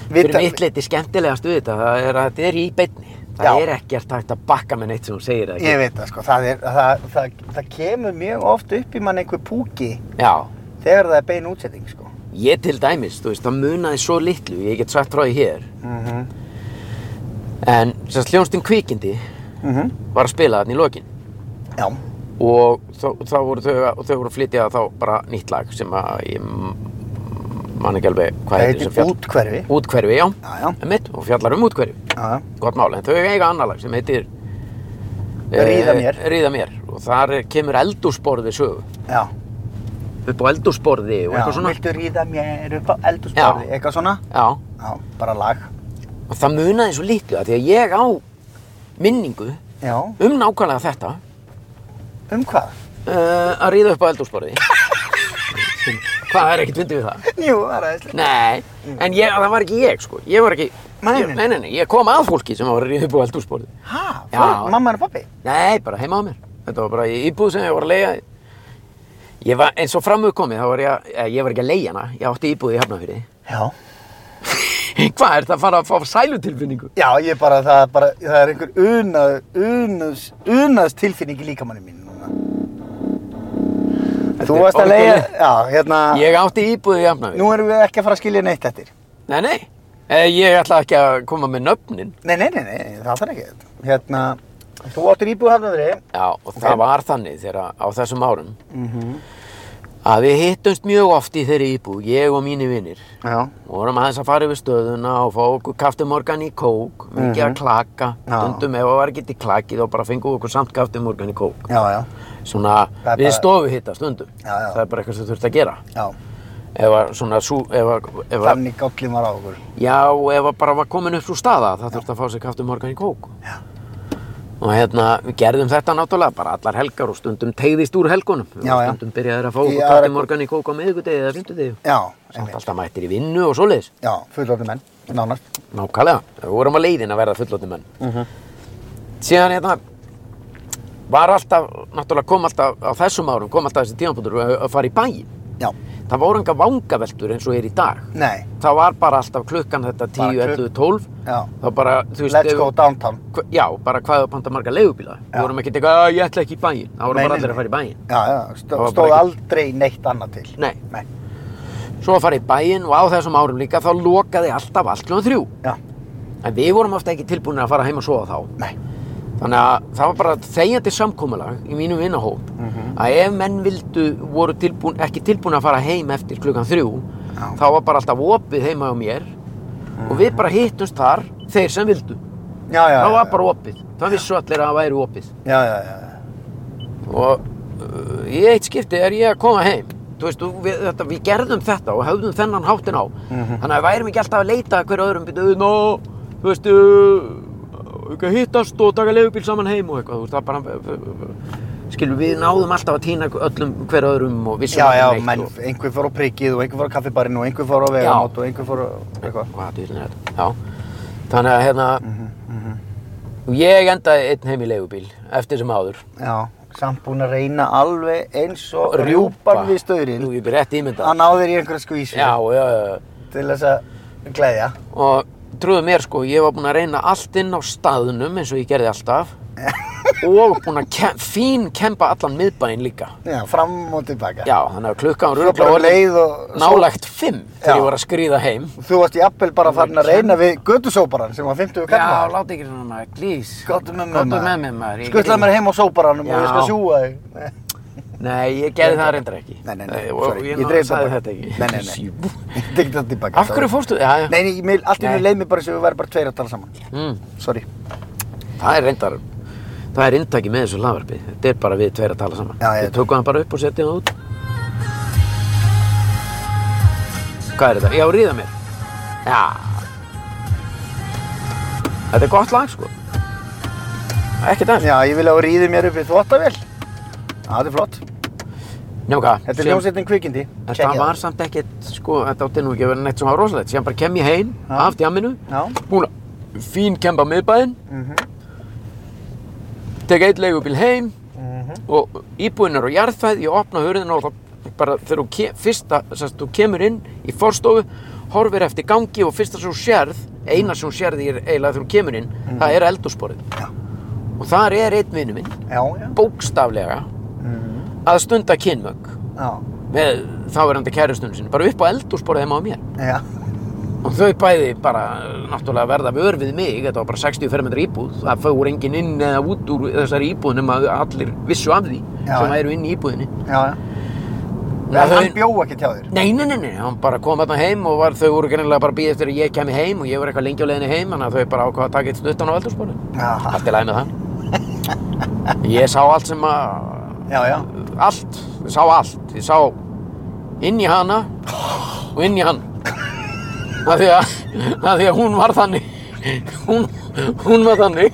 við, fyrir mitt leiti skemmtilegast við þetta, það er að þetta er í beinni. Það Já. er ekkert hægt að bakka með neitt sem hún segir það. ég veit það sko, það, er, það, það, það kemur mjög oft upp í mann einhver púki Já, þegar það er bein útsetting sko. ég til dæmis, þú veist, það munaði svo litlu, ég get sagt frá því hér. Mm -hmm. En sérst hljónstinn kvikindi mhm. var að spila þarna í lokin Já, og þá, þá voru þau, að- og þau voru að flytja þá bara nýtt lag sem að ég m- man ekki alveg hvað það heitir sem heitir útkverfi. Útkverfi, já. Já, já. Einmitt, og fjallar um útkverfi. Já, já. Gott mál, en þau eiga annar lag sem heitir Ríða mér. Eh, Ríða mér. Og þar er- kemur eldúsborði sögu. já. Upp á eldúsborði og já. eitthvað svona. Viltu ríða mér upp á eldursporði, Já. eitthvað svona? Já. Já, bara lag. Og það munaði svo litlu að því að ég á minningu Já, um nákvæmlega þetta um hvað? uh, að ríða upp á eldúsborði. Hvað, það er ekkert fyndið við það? Jú, það er aðeinslega. Nei, en ég, það var ekki ég sko, ég var ekki Nei, ég, nei. nei, nei, nei, ég kom að fólki sem var að ríða upp á eldúsborði Hæ, Já. mamma og pappi? Nei, bara heima á mér, þetta var bara í íbúð sem ég var að leiga Ég var, eins og framöðu komið, þá var ég, að- eh, ég var ekki að leiga hana, ég átti íbúð í Hafnafyrði Já. Hvað er það að fara að fá sælutilfinningu? Já, ég bara, það, er bara, það er einhver unað, unaðs, unaðs tilfinning í líkamanni mín núna. Þetta Þú er varst að leiða, ótrúlegt. já, hérna, Ég átti íbúð í Hafnafyrði nú erum við ekki að fara að skilja neitt eftir. Nei, nei, eh, ég ætla ekki að koma með nöfnin Nei, nei, nei, nei, það þarf ekki. Hérna, þú áttir eh? íbúð hafnaðri. Já, og Ok. það var þannig þegar á þessum árum Mm -hmm. Mhm. að við hittumst mjög oft í þeirri íbúð, ég og mínir vinir Já. og vorum aðeins að fara yfir stöðuna og fá okkur kaftimorgan í kók mikið að klaka, Mhm. Já. stundum ef það var ekki til klakið og bara fengum okkur samt kaftimorgan í kók Já, já, svona Það er við bara- stofu hitta stundum Já, já. það er bara eitthvað sem þurft að gera já, ef að svona sú, ef að, ef að, þannig gallin var á okkur. já, ef að bara var komin upp svo staða það þurft að fá sér kaftimorgan í kók já. og hérna, við gerðum þetta náttúrulega bara allar helgar og stundum tegðist úr helgunum Já, og já. stundum byrjaðir að fá Í okkur aðra- kaftimorgan í kók á miðvikudegi eða fimmtudegi Já, samt einmitt. alltaf mættir í vinnu og svoleiðis Já, fullorðin menn, nánast. Nákvæmlega, við vorum á leiðin að verða fullotni menn. Mhm. Síðan hérna var alltaf, náttúrulega kom alltaf á þessum árum, kom alltaf þessi tímapunktur eh, að að fara í bæinn. Já, Það voru enga vangaveltur eins og er í dag. nei, Það var bara alltaf klukkan þetta 10, Bara 11, 12. já, Þá bara, þú veist, let's ef- go downtown. hva- já, bara hvaðið að panta marga leigubíla. Við Já. vorum ekkert eitthvað, "Ah, ég ætla ekki í bæinn. Það voru bara Nei, nei, allir að nei. fara í bæinn. Já, já, stó, Það var bara stóð ekki- aldrei neitt annað til. Nei, Nei, svo að fara í bæinn og á þessum árum líka þá lokaði alltaf allt klukkan þrjú. já, En við vorum ofta ekki tilbúinir að fara heim og sofa þá. nei, Þannig að það var bara þegjandi samkómalag í mínum vinahóp Mhm. að ef menn vildu voru tilbúin, ekki tilbúin að fara heim eftir klukkan þrjú Já. Mhm. þá var bara alltaf opið heima á mér og við bara hittumst þar þeir sem vildu. já, já. það var já, bara opið. Það vissu allir að það væri opið. Já, já, já, já. Og uh, í eitt skipti er ég að koma heim. Þú veist, og við, þetta, við gerðum þetta og höfðum þennan háttin á. Mhm. Þannig að við værum ekki alltaf að leita að hverju öðrum byrju, ná, þú veist, uh, ekki að hittast og taka leifubíl saman heim og eitthvað. Þú veist, það bara, uh, skilur, við náðum alltaf að týna öllum hverju öðrum og vissum Já, ekki já, neitt sko. menn, og- einhver fór á prikið og einhver fór á kaffibarinn og einhver fór á vegamót og einhver fór á eitthvað. Mhm, Hvað dýrlinn er þetta? Já. Þannig að hérna, og ég endaði einn heim í leifubíl eftir sem áður. Já, samt búinn að reyna alveg eins og Rjúpa. rjúpan við staurinn Jú, ég byrja rétt ímyndað. að ná þér í einhverja skvísu Já, já, já, já. til þess að gleðja. og trúðu mér sko, ég var búinn að reyna allt inn á staðnum eins og ég gerði alltaf og búinn að kem, fín kempa allan miðbæinn líka Já, fram og tilbaka. já, þannig að klukkan var Svo bara örugglega orðin leið og- nálægt fimm Já. þegar ég var að skrýða heim Þú varst í appel bara farin að Kem- reyna við götusóparan sem var 50 já, kallar. láti ekki svona maður, glís Gottu með Sko, mér Komdu með mér maður ég Skutlaði get- mér heim á sóparanum og Já. ég skal sjúga þig. Nei. nei, ég gerði það reyndar ekki Nei, nei, nei, Eh, og sorry, ég, ég ég dreif sagði það þetta ekki Nei, nei, nei. Ég tek það tilbaka. af hverju fórstu, já, já Nei, nei, mér, allt í Nei. mér leið mér bara sem við væri bara tveir að tala saman. mm, Sorry. það er reyndar það er inntaki með þessu lagarpi þetta er bara við tveir að tala saman Já, ég- við tökum hann bara upp og setjum það út Hvað er þetta? Já, ríða mér. Já. Þetta er gott lag, sko. Ekki það. Já, ég vil að þú ríði mér upp í þvottavél. Já, þetta er flott. Nefnum hvað. Þetta er síðan- hljómsveitin kvikindi. En Check það it var out. samt ekkert, sko, þetta átti nú ekki að vera neitt sem var rosalegt. Síðan bara kem ég heim, Já. af djamminu, Já. búin að fín kempa miðbæðin, tek eitt leigubíl heim Mhm. og íbúinn er á jarðfæð, ég opna hurðin og þá bara þegar þú, ke fyrsta, sest, þú kemur inn í forstofu, horfir eftir gangi og fyrsta sem þú sérð, eina sem þú sérð er eiginlega þegar þú kemur inn, Mm. það er eldúsporið. Og þar er einn vinnu minn, já, já, bókstaflega, Mhm. að stunda kynmögg já, með þáverandi kærustunum sinni, bara upp á eldúsporið heima á mér. já, Og þau bæði bara náttúrulega verða vör við mig, þetta var bara 60 fermetra íbúð, það fór enginn inn eða út úr þessari íbúð nema allir vissu af því Já, sem já. eru inn í íbúðinni. já, já. Já, En hann þau- bjó ekki hjá þér? Nei, nei, nei, nei, hann bara kom þarna heim og var, þau voru greinilega bara að býða eftir að ég kemi heim og ég var eitthvað lengi á leiðinni heim, þannig að þau bara ákvaða að taka eitt stuttan á eldursporu. Já, Allt í lagi með það. Ég sá allt sem að, já, já, allt, ég sá allt. Ég sá inn í hana og inn í hann. Það því að, það því að hún var þannig, hún, hún var þannig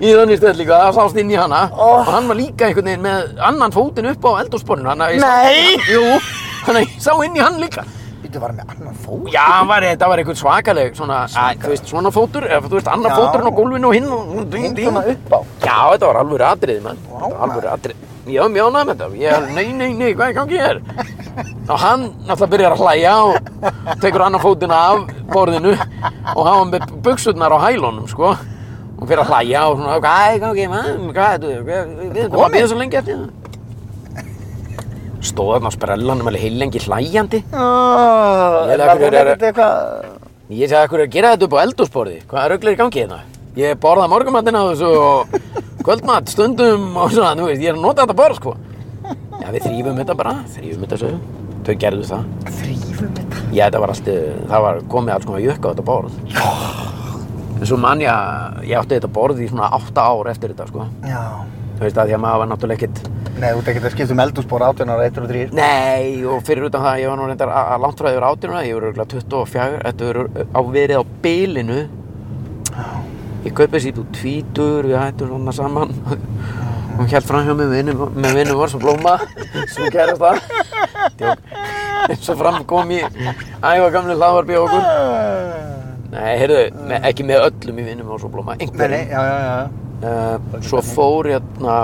í þannig stöð líka, það sást inn í hana Oh. og hann var líka einhvern veginn með annan fótinn upp á eldursporinu, þannig að ég sá- Nei! Jú, þannig að ég sá inn í hann líka. býttu var hann með annan fót? Já, hann var, þetta var eitthvað svakaleg, svona, að, þú veist, svona fótur, eða þú veist, annar Já. fóturinn á gólfinu og hinn og og ding, Hinn ding. svona upp á? Já, þetta var alvöru atriði, mann. Vá, Þetta var maður. Alvöru atriði. Ég var mjög ánægð með þetta. Ég er, nei, nei, nei, hvað er í gangi hér? Og hann náttúrulega byrjar að hlæja og tekur annar fótinn af borðinu og hafa hann með buksurnar á hælunum, sko. Og fyrir að hlæja og svona, hvað er í gangi, mann? Hvað er þetta? Hvað- Við erum bara að býða svo lengi eftir það. Stóð þarna á sprellanum alveg heilengi hlæjandi. Oh, Ég er lef það fyrir að- ekkert eitthvað... Ég sagði okkur að gera þetta upp á eldúsborði. Hvað rugl er í gangi hérna? Ég borða morgumatinn á þessu og kvöldmat stundum og svona, þú veist, ég er að nota þetta bara, sko. Já, við þrýfum þetta bara, þrýfum þetta svo. Þau gerðu það. Þrýfum þetta? Já, þetta var allt, eh, það var komið alls konar jökk á þetta borð. En svo man ég að ég átti þetta borð í svona átta ár eftir þetta, sko. Já, Þú veist, að því að maður var náttúrulega ekkert nei, þú ert ekkert að skipta um eldúsbor 18 ára, 1 og 3. Nei, og fyrir utan það, ég var nú reyndar að að langt frá yfir átjörnuna, ég voru örgulega 24, þetta voru á verið á bylinu. Ég kaupið sýtt úr tvítur, við hættum svona saman. Hún held fram hjá mig vinum- með vinnum var svo blóma, sem kærast það. Djók. En Svo fram kom ég, æfa gamli hlaðvarpi á okkur. Ah. Nei, heyrðu, me, ekki með öllum í vinnum var svo blóma, Nei, nei, einhverjum. já, já, já. Uh, svo fór hérna,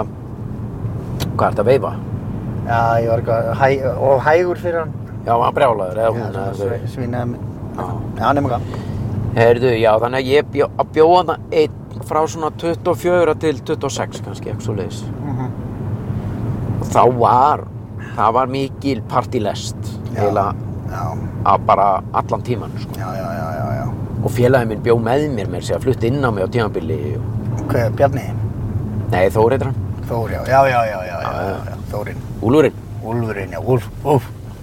hvað er þetta að veifa? Já, ég var eitthvað hæ, og hægur fyrir hann. Já, hann var brjálaður, eða hún, Já, eða svona þau. Svínaði mig. Já. Já, nema hvað. Herðu, já, þannig að ég bjó, að bjóða hana einn frá svona 24 til 26 kannski, ekki svo leiðis. Mhm. Og þá var, það var mikil partilest, Já. heila Já, að bara allan tíman, sko. já, já, já, já, já. Og félagið minn bjó með mér mér, sér að flutti inn á mig á tímabili. og- Ok, Bjarni, Nei, Þóriðra, Þór, já, já, já, já, já, já, já. já, já, Þórinn. Úlfurinn. Úlfurinn, já, úlf, úlf,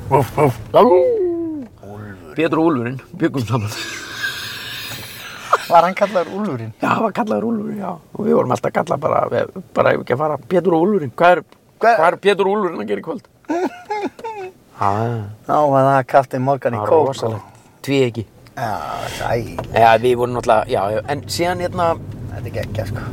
úlf, úlf. Lálú! Úlfur. Pétur og Úlfurinn, byggum saman. Var hann kallar Úlfurinn? Já, það var kallaður Úlfurinn, já. Og við vorum alltaf kallað bara, við- bara ef ekki að fara, Pétur og Úlfurinn. Hvað er, Hvað- hvað er Pétur og Úlfurinn að gera í kvöld? Hæ? Já, var það Captain Morgan í Það var kók. rosalegt. Tví ekki. Já, æ, sko. Já, við vorum náttúrulega, já, já, en síðan hérna, þetta er geggja, sko.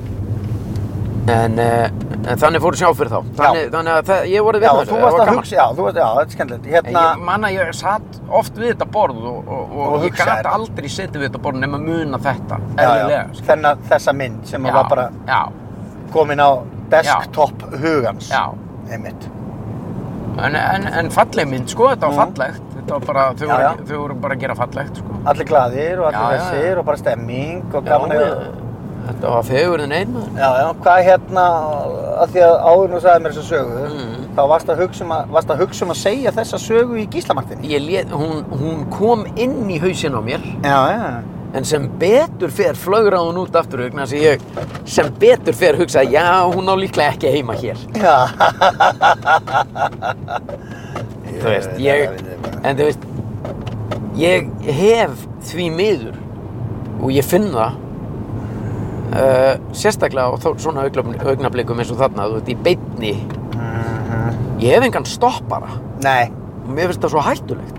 en, eh, en þannig fór sjá fyrir þá. Þannig, þannig að það, ég voru við Já, þessu, þú það varst var að gaman. hugsa, já, þú varst, já, þetta er skemmtilegt. En Hérna, ég manna, ég satt oft við þetta borð og, og, og, ég Og hugsaði gæti þetta. aldrei setið við þetta borð nema muna þetta, já, eðlilega. sko. já, skilur. þennan, þessa mynd sem var bara Já, komin á desktop hugans. já. Einmitt. En, en, en falleg mynd, sko, þetta var Mhm. fallegt. Þetta var bara, þau Já, voru, já. þau voru bara að gera fallegt, sko. Allir glaðir Já, og já, allir já. þessir og bara stemming og gaman Já, að... ég- Þetta var fegurðin einmaður. Já, já, hvað hérna, að því að áður nú sagði mér þessa sögu, þá varst að, hugsa um að, varst að hugsa um að segja þessa sögu í gíslamartinni. Ég lét, hún, hún kom inn í hausinn á mér. Já, já, En sem betur fer flögra hún út aftur vegna þess að ég sem betur fer hugsaði já, hún á líklega ekki heima hér. já. Þú veist, ég, en þú veist, ég hef því miður og ég finn það uh, sérstaklega á þó- svona augnab- augnablikum eins og þarna, þú veist, í beinni. Ég hef engan stoppara Mhm. Nei, og mér finnst það svo hættulegt.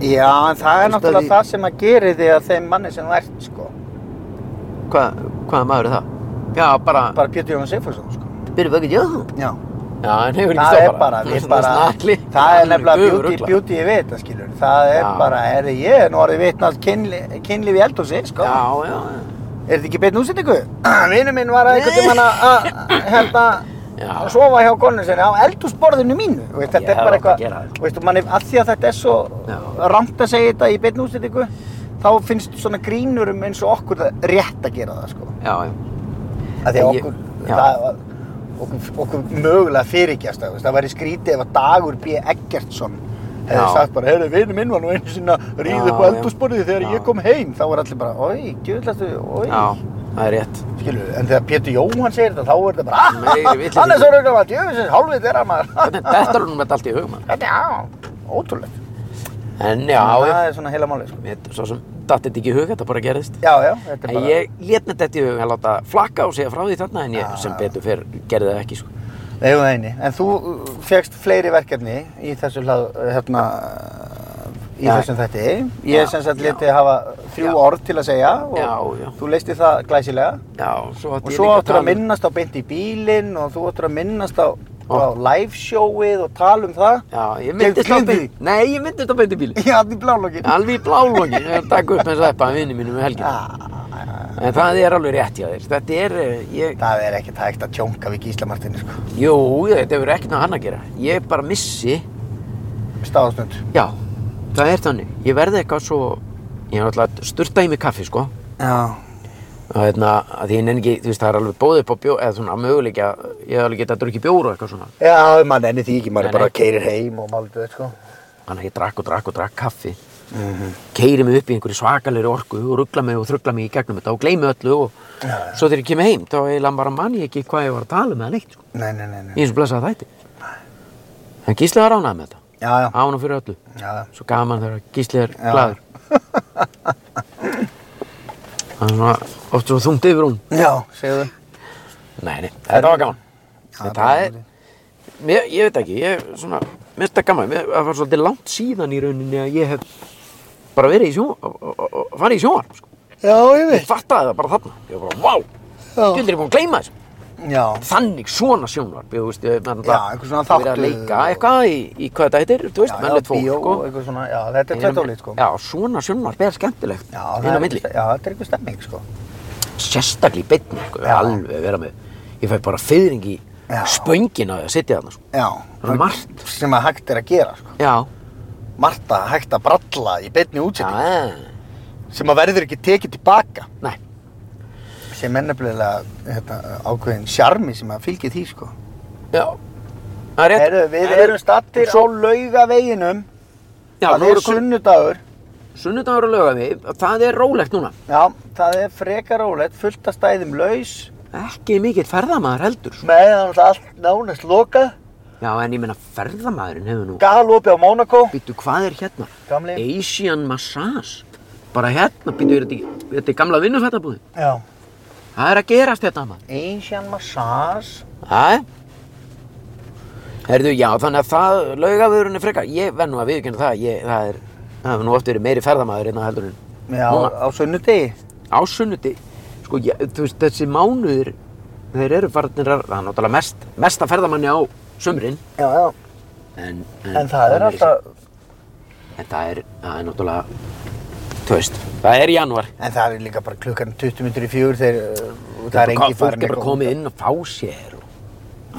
já, en það er Þú veist að náttúrulega því- það sem að gera þig að þeim manni sem þú ert, sko. Hva, hvaða maður er það? Já, bara, bara Bara Pétur Jóhann Sigfússon, sko. byrjum við ekki, já. Já. Já, en hefur ekki Það stoppara. er bara, við bara, Snakli. það er nefnilega Guður beauty, ugla. beauty við þetta, skilur. Það er Já. bara, er ég, er nú orðið vitnað kynlíf kynlíf í eldhúsi, sko. Já, já, já. Ah, Er þetta ekki beinn útsendingu? Vinnu minn var að einhvern tímann að- að, hérna, Já. að sofa hjá konunni sinni á eldhúsborðinu mínu Þú veist, Ég þetta er hefði bara átt að eitthvað gera það, sko. þú veist, og manni, að því að þetta er svo Já. rangt að segja þetta í beinni útsendingu þá finnst svona grínurum eins og okkur það rétt að gera það sko já, já. að því að Ég- okkur, já. það, okkur, okkur mögulega fyrirgjast það, þú veist, það væri skrítið ef að Dagur B. Eggertsson hefði Já. sagt bara, heyrðu, vinnu minn var nú einu sinna ríð Já, upp á já. eldhúsborðið þegar Já. ég kom heim, þá var allir bara, oi, djöðlastu, oi, Já, það er rétt. skilu, en þegar Pétur Jóhann segir þetta, þá er þetta bara, Meiri "Ah, vitleysa. hann er svo rauðan að djöðlisins hálfið þeirra maður, Hvernig dettur honum þetta allt í hugum hann? þetta er já, ótrúlegt, En já, það ég, er svona heila málið, sko, ég, svo sem datt þetta ekki í hug, þetta bara gerðist. já, já, þetta er En bara, ég lét með þetta í hugum að láta flakka og segja frá því þarna en ég Já. sem betur fyrr gerði það ekki sko. Nei, nei, nei. En þú uh, fékkst fleiri verkefni í þessu hlað, hérna, í Já. þessum þætti. Ég Já, sem sagt já. leti hafa þrjú Já. orð til að segja og Já, já. þú leisti það glæsilega. Já, svo átti Og ég svo líka áttur tala að um- minnast á beint í bílinn og þú áttur að minnast á, á live showið og tala um það. Já, ég myndist á Gleymdu beint. Nei, ég myndist á beint í bíli. Já, það er blálokkin. Alveg í blálókin, ég er að taka upp eins og eppa að vinni mínum með helgina. En það er alveg rétt hjá þér. Þetta er, eh, ég, Það er ekkert hægt að tjónka við Gísla Martini, sko. jú, þetta hefur ekkert með hann að gera. Ég bara missi Stáðstund. Já, það er þannig. Ég verði eitthvað svo, ég er náttúrulega að sturta í mig kaffi, sko. Já. Og hérna, að því ég nenni ekki, þú veist, það er alveg bóðið upp á bjór, eða svona möguleik að, ég hef alveg getað að drukja bjór og eitthvað svona. Já, mann enni því ekki, maður Nei, bara nei. keirir heim og máldu þetta, sko. Þannig að ég drakk og drakk og drakk kaffi. Mm Keiri mig upp í einhverju svakalegri orku og ruggla mig og þruggla mig í gegnum þetta og gleymi öllu og svo þegar ég kemur heim, þá eiginlega bara mann ég ekki hvað ég var að tala með það neitt, sko. Nei, nei, nei, nei. Í eins og blessaða þætti. En Gísli var ánað með þetta. Já, já. Ánað fyrir öllu. Já, já. Svo gaman þegar Gísli er Já. glaður. Það er svona oft svo þungt yfir hún. Já, segðu Nei, nei, þetta var gaman. En það er, mér, ég veit ekki, ég svona, mér finnst það gaman. Mér, það var svolítið langt síðan í rauninni að ég hef bara verið í sjónvarp, farið í sjónvarp, sko. Já, ég Ég fattaði það bara þarna. Ég var bara, vá, Já, þú er ég búin að gleyma þessu. já, Þannig svona sjónvarp, ég veist, ég meðan Já, einhver svona Ég verið að þáttur leika og- eitthvað í, í hvað þetta heitir, þú já, veist, mennlegt fólk, bíó, sko. eitthvað svona, já, þetta Ég er er tveit með- ólít, sko Já, svona sjónvarp er skemmtilegt já inn það á er, milli. já, þetta er eitthvað stemming, sko sérstaklega í beinni, sko, Já. alveg vera með ég fæ bara fyrring í Já. spöngina að sitja þarna, sko. Já, Það er margt. sem að hægt er að gera, sko Já, Margt að hægt að bralla í beinni útsetting já, sem að verður ekki tekið tilbaka nei sem er nefnilega þetta, ákveðin sjarmi sem að fylgir því, sko já, það er rétt Heru, Við Það er- erum stattir Svo- á laugaveginum já, það er sunn... sunnudagur sunnudagur að löga við það er rólegt núna, Já, það er frekar ólegt, fullt að stæðum laus ekki mikill ferðamaður heldur sko. meðan allt nánast lokað já, en ég meina ferðamaðurinn hefur nú Galopi á Mónakó býttu, hvað er hérna? Gamli. Asian Massage bara hérna, býttu, er þetta í- þetta er gamla vinnufættabúði Já það er að gerast hérna, maður Asian Massage Hæ? Herðu, já, þannig að það, laugavörun er frekar, ég verð nú að viðkynna það, ég, það er, það hefur nú oft verið meiri ferðamaður hérna heldur en Já, Núna. á sunnudegi á sunnuti, sko, ég, þú veist, þessi mánuður, þeir eru farnir að, það er náttúrulega mest, mesta ferðamanni á sumrin, Já, já en, En það er alltaf en það er, það er náttúrulega, þú veist, það er í janúar, En það er líka bara klukkan 20 minnur í fjúr þegar uh, það Þetta kom- er engin fólk farin er bara komið inn og fá sér og,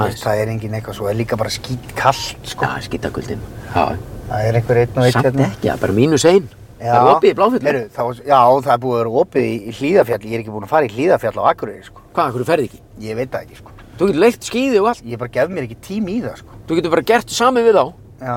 aðeins, Það er engin eitthvað svo, það er líka bara skýt kallt sko já, skítakuldin, já, Það er einhver einn og einn samt ekki, það er bara mínus einn, það er opið í bláfjöldum. Heyrðu, þá- Já, það er búið að vera opið í, í hlíðafjall Ég er ekki búin að fara í hlíðafjall á Akureyri sko Hvað, af hverju ferði ekki? Ég veit það ekki sko Þú getur leikt skíði og allt. Ég bara gef mér ekki tím í það sko Þú getur bara gert sami við þá. Já,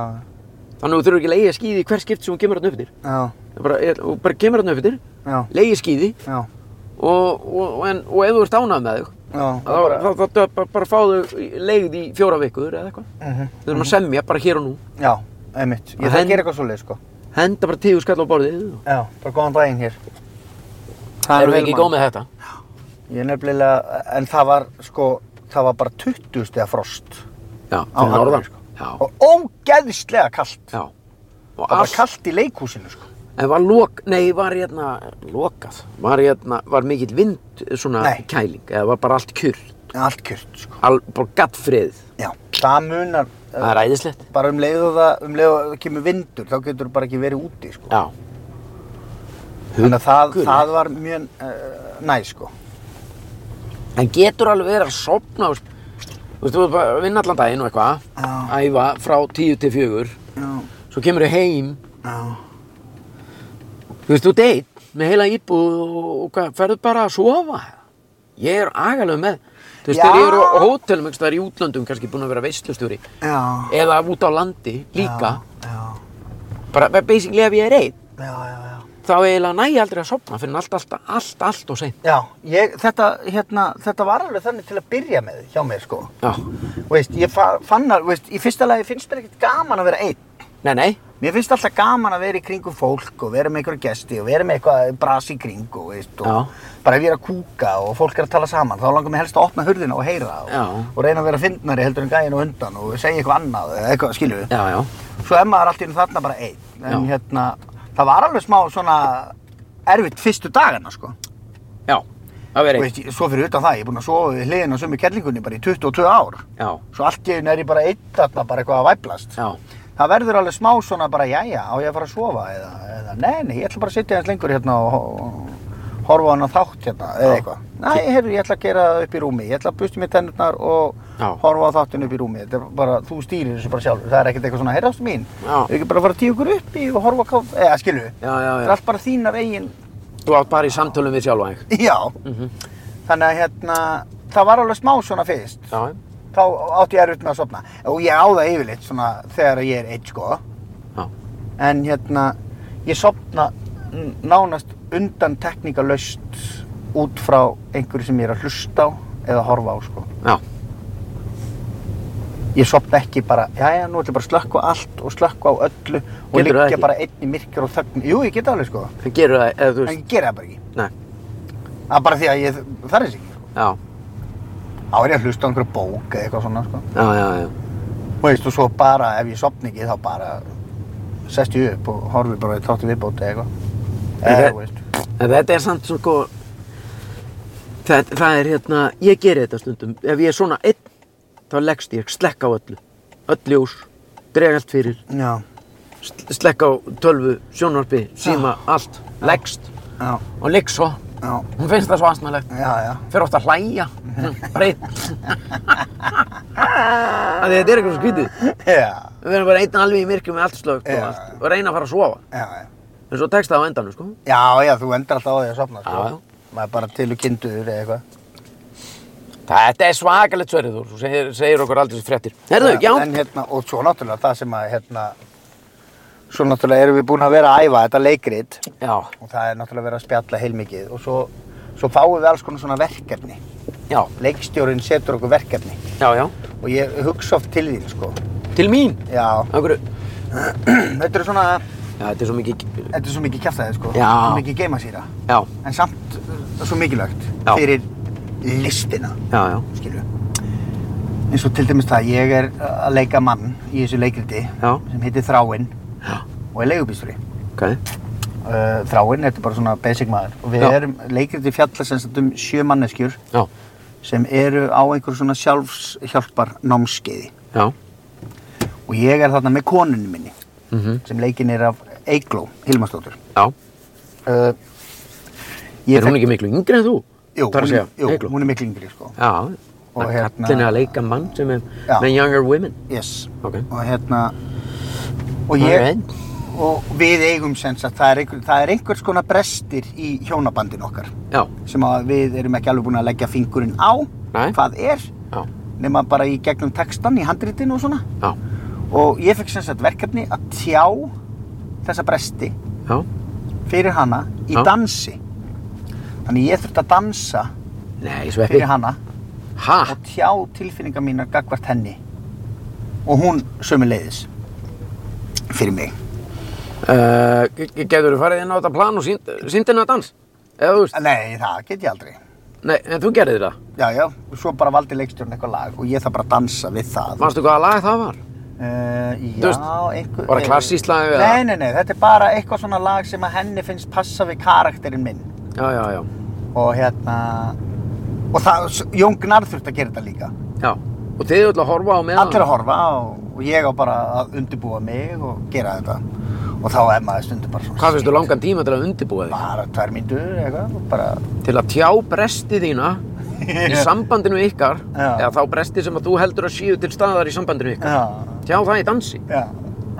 Þannig að þú þurfur ekki að leiða skíði í hver skipt sem hún kemur hann uppfyrir. já, Þú bara, er- þú bara kemur hann uppfyrir, já, leiði skíði já, og, og, og, en, og ef þú ert ánað með þau, já þá bara, þá, þá, þá bara, bara fá þau leigð í fjóra vikur eða eitthvað. Mhm. Þau þurfum að semja bara hér og nú. Já, einmitt Ég Og þarf henn- að gera eitthvað svoleið sko Henda bara tíu skall á borðið. Já, bara góðan daginn hér. Það vel eru ekki mál. góð með þetta. Ég er nefnilega, en það var sko, það var bara 20 stiga frost. Já, fyrir Akureyri, norðan. sko. Já, Og ógeðslega kallt. já. Og Það var allt, kallt í leikhúsinu sko. en var lok, nei, var hérna, lokað, var hérna, var mikill vind, svona Nei. kæling, eða var bara allt kjur, Allt kjört sko. al, bara gattfrið, Já, það munar eh, það er æðislegt. bara um leið og það, um leið og það kemur vindur, þá getur bara ekki verið úti sko. Já. Þannig að það, Huggulegt. það var mjög uh, næ sko. En getur alveg verið að sopna og þú veist, þú er bara að vinna allan daginn og eitthvað, Já. æfa frá 10 til 4, Já, svo kemur þau heim, já, þú veist, þú deitt með heila íbúð og hvað, ferðu bara að sofa? Ég er agalega með, þú veist, Já. þegar ég er á hótelum, ekki staðar í útlöndum, kannski búin að vera veistlustjóri, já. eða út á landi líka, Já, bara basically ef ég er einn, já, já, já. þá eiginlega næ ég aldrei að sopna fyrir allt, allt, allt, allt og seint. Já, ég, þetta, hérna, þetta var alveg þannig til að byrja með hjá mér, sko. Já, Veist, ég fa- fann að, veist, í fyrsta lagi finnst mér ekkert gaman að vera einn. nei, nei, Mér finnst alltaf gaman að vera í kringum fólk og vera með einhverja gesti og vera með eitthvað bras í kring og, veist, og Já. bara ef ég er að kúka og fólk er að tala saman, þá langar mér helst að opna hurðina og heyra og, Já. og reyna að vera fyndnari heldur en gæin og undan og segja eitthvað annað, eða eitthvað, skilju. já, já, Svo er maður allt í einu þarna bara einn. En Já. hérna, það var alveg smá svona erfitt fyrstu dagana, sko. já, það verið, Veist, svo fyrir utan það, ég er búinn að sofa við hliðin á sömu kerlingunni bara í 22 ár. já, Svo allt í einu er ég bara einn þarna, bara eitthvað að væplast. já, Það verður alveg smá svona bara, jæja, á ég að fara að sofa eða, eða nei, nei, ég ætla bara að sitja eins lengur hérna og, og horfa á hana þátt hérna eða Já. eitthvað. Nei, heyrðu, ég ætla að gera það upp í rúmi, ég ætla að busti mér tennurnar og Já. horfa á þáttin upp í rúmi. Þetta er bara, þú stýrir þessu bara sjálfur, það er ekkert eitthvað svona, heyrðastu mín, Já. við ekki bara að fara að tíu okkur upp í og horfa á káf, eða skilu, já, já, það er já. allt bara þínar eigin, Þú átt bara í samtölum við sjálfa þig. já, Mhm. þannig að hérna, það var alveg smá svona fyrst. Já, já, þá átti ég erfitt með að sofna og ég á það yfirleitt svona þegar ég er eitt sko Já. en hérna ég sofna n- nánast undan tekníkalaust út frá einhverju sem ég er að hlusta á eða horfa á sko já, ég sofna ekki bara, jæja nú ætlum ég bara að slökka á allt og slökka á öllu og Geturðu það liggja ekki? bara einn í myrkur og þögn jú ég get það alveg sko, það gerur það, eða þú en veist, ég gera það bara ekki Nei. það er bara því að ég það er þess ekki sko. já, þá er ég að hlusta á einhverju bók eða eitthvað svona sko já, já, já, Þú veist, og svo bara ef ég sopni ekki þá bara sest ég upp og horfi bara í þáttu viðbóti eða eitthvað eða, Ég- þú veist en þetta er samt svo sko, það, það er hérna, ég geri þetta stundum, ef ég er svona einn, þá leggst ég, slekk á öllu, öll ljós, dreg allt fyrir, já, sl- slekk á tölvu, sjónvarpi, síma, allt, leggst já, og ligg svo, já, hún finnst það svo aðsnalegt. já, já, fyrir oft að hlæja breytt að þetta er eitthvað svo skrítið já, við verðum bara einn alveg í myrkjum með allt slögt Já. og allt og reyna að fara að sofa já, já. en svo tekst það á endanum sko já, já, þú endur alltaf á því að sopna sko. Já, já. maður er bara til og kinduður eða eitthvað þetta er svakalegt sverið þú segir, segir okkur aldrei þessi fréttir herðu, já, en, hérna, og svo náttúrulega það sem að hérna, svo náttúrulega erum við búin að vera að æfa þetta leikrit já, og það er náttúrulega verið að spjalla heilmikið og svo, svo fáum við alls konar svona verkefni já, leikstjórin setur okkur verkefni já, já og ég hugsa oft til þín sko til mín já, okkur, já, þetta er svona þetta er svo mikið Þetta er svo mikið kjaftaðið sko, Já. svo mikið geimasýra, já, en samt uh, svo mikilvægt Já. fyrir listina, já, já, skilju. Eins og til dæmis það, ég er að leika mann í þessu leikriti Já. sem heitir Þráinn Já. og er leigubýsturi. ok Uh, Þráinn, þetta er bara svona basic maður og við Já. erum leikriti fjalla sem sagt um sjö manneskjur já, sem eru á einhverju svona sjálfshjálpar námskeiði já, og ég er þarna með konunni minni mhm, sem leikin er af Eigló Hilmarsdóttur. já Uh, ég er hún ekki miklu yngri en þú? Þar Jú, að hún, segja, er- jú Eygló. hún er miklu yngri sko. já, Og og hérna- kallin er að leika mann sem er Já. með younger women Yes. ok, Og hérna og ég Alright. og við eigum sem sagt það er, einhver, það er einhvers konar brestir í hjónabandin okkar já, sem að við erum ekki alveg búin að leggja fingurinn á Nei. hvað er já, nema bara í gegnum textan í handritinu og svona já, og ég fekk sem sagt verkefni að tjá þessa bresti já, fyrir hana í Já. dansi þannig ég þurfti að dansa nei, sveppi, fyrir hana ha, og tjá tilfinningar mínar gagvart henni og hún sömu leiðis fyrir mig uh, getur þú farið inn á þetta plan og sínt síndin að dans, eða þú veist, Nei, það get ég aldrei nei, en þú gerðir það, Já, já, og svo bara valdi leikstjórn eitthvað lag og ég þarf bara að dansa við það manstu hvaða lag það var? Uh, Þú já, veist, einhver bara klassískt lag eða? Nei, nei, nei, þetta er bara eitthvað svona lag sem að henni finnst passa við karakterinn minn Já, já, já, og hérna og það, Jón Gnarr þurfti að gera þetta líka já, og þið eru öll að horfa á meðan, allir að horfa og, og ég á bara að undirbúa mig og gera þetta og þá er maður stundum bara svona hvað finnst þú langan tíma til að undibúa þig, bara tvær mínútur eða eitthvað og bara til að tjá bresti þína í sambandinu ykkar Já. eða þá bresti sem að þú heldur að séu til staðar í sambandinu ykkar Já, tjá það í dansi já,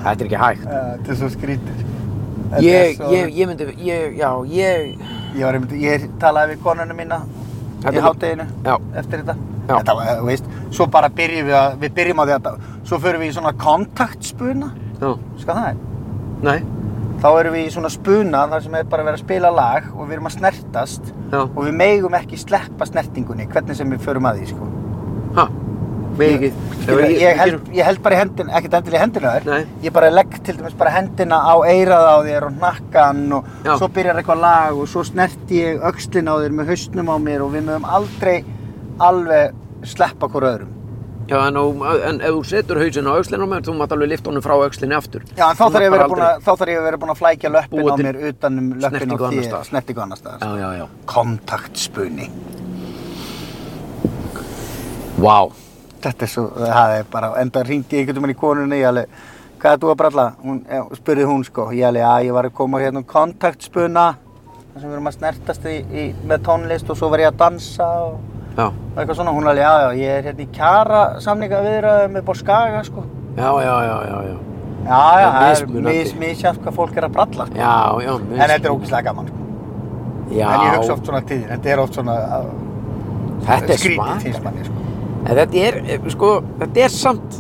þetta er ekki hægt já, þetta er svo skrítið. Þetta er ég, svo- ég, ég myndi, ég, já, ég Ég, var, einmitt- ég talaði við konunum mína Þetta í er- hátteginu Já. eftir þetta. Já. Þetta var, þú veist, svo bara byrjum við að, við byrjum á því að, svo förum við í svona kontaktspuna, já, skal það er? nei, Þá erum við í svona spuna þar sem er bara verið að spila lag og við erum að snertast já, og við megum ekki sleppa snertingunni, hvernig sem við förum að því, sko. ha mig ekki Skilur, ég, held, ég held bara í hendina, ekkert endilega í hendina á þér Nei. Ég bara legg til dæmis bara hendina á eirað á þér og hnakkan og Já. svo byrjar eitthvað lag og svo snerti ég öxlin á þér með hausnum á mér og við mögum aldrei alveg sleppa hvort öðrum já, en, á, en ef þú setur hausinn á aukslinu á mér þú mátt alveg lifta honum frá aukslinni aftur Já, en þá Þú þarf ég að mátt vera bara búin að, þá þarf ég að vera búin að flækja löppin Búa á til mér utan um löppin á snertingu annars þér, staðar. snertingu annars staðar já, já, já, Kontaktspuni vá Þetta er svo, það er bara, enda hringdi ég einhvern veginn í konunni, ég alveg, hvað er þú að bralla? Hún, eh, spurði hún sko, ég alveg, að ég var að koma hérna um kontaktspuna, þar sem við erum að snertast í, í, með tónlist og svo var ég að dansa og, já, og eitthvað svona, hún alveg, já, já, ég er hérna í kjara samninga viðraðum upp á skaga sko. já, já, já, já, já Já, Það já, er það er mismunandi. mis, misjátt hvað fólk er að bralla sko. Já, já, En þetta er ógeðslega gaman sko. já, En ég hugsa oft svona tíðir, þetta er oft svona uh, þetta er skrítið svak finnst manni sko. En þetta er, eh, sko, þetta er samt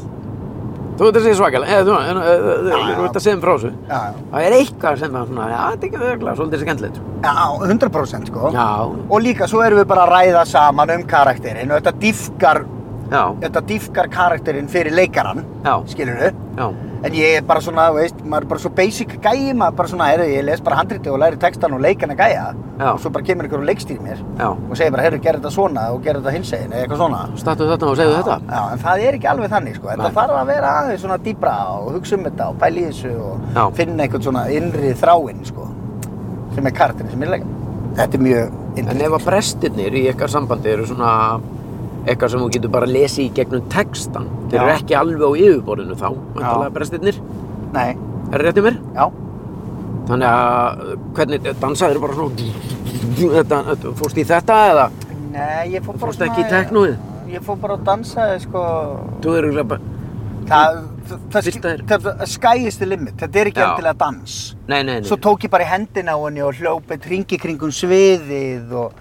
Þú veit að segja svakal eða þú en, eh, eh, Já, þú já. veit að segja um frá þessu Já, já, Það er eitthvað sem er svona, já, þetta er ekki ögla, svolítið skemmtilegt já, 100% sko. Já, Og líka svo erum við bara að ræða saman um karakterinn og þetta dýfkar, já, þetta dýfkar karakterinn fyrir leikarann, já, skilur við. já En ég er bara svona, þú veist, maður er bara svo basic gæi, maður er bara svona, heyrðu, ég les bara handriti og læri textan og leikana gæja. Já. Og svo bara kemur ykkur og leikstýr mér Já, og segir bara, heyrðu, gerðu þetta svona og gerðu þetta hinsegin eða eitthvað svona. stattu þetta og segðu þetta Já, en það er ekki alveg þannig, sko. Þetta Nei. þarf að vera aðeins svona dýbra og hugsa um þetta og pæla í þessu og Já. finna einhvern svona innri þráinn, sko, sem er karakterinn sem er leikarinn. Þetta er mjög En interesting. ef að brestirnir í ykkar sambandi eru svona eitthvað sem þú getur bara lesið í gegnum textan Þeir eru Já. ekki alveg á yfirborðinu þá, vandalega brestirnir Nei, Er það réttið mér? já. Þannig að eh, hvernig, dansaður bara svona þetta, þetta- Fórstu í þetta eða? Nei, ég fór bara fórst ekki í teknóið? Ég fór bara að dansa, sko. Þú eru örugglega bara Það, það, það, Fyrsta er- það, það skæist þið limit, þetta er ekki Já. endilega dans. Nei, nei, nei Svo tók ég bara í hendina á henni og hljópið hringi kringum sviðið og,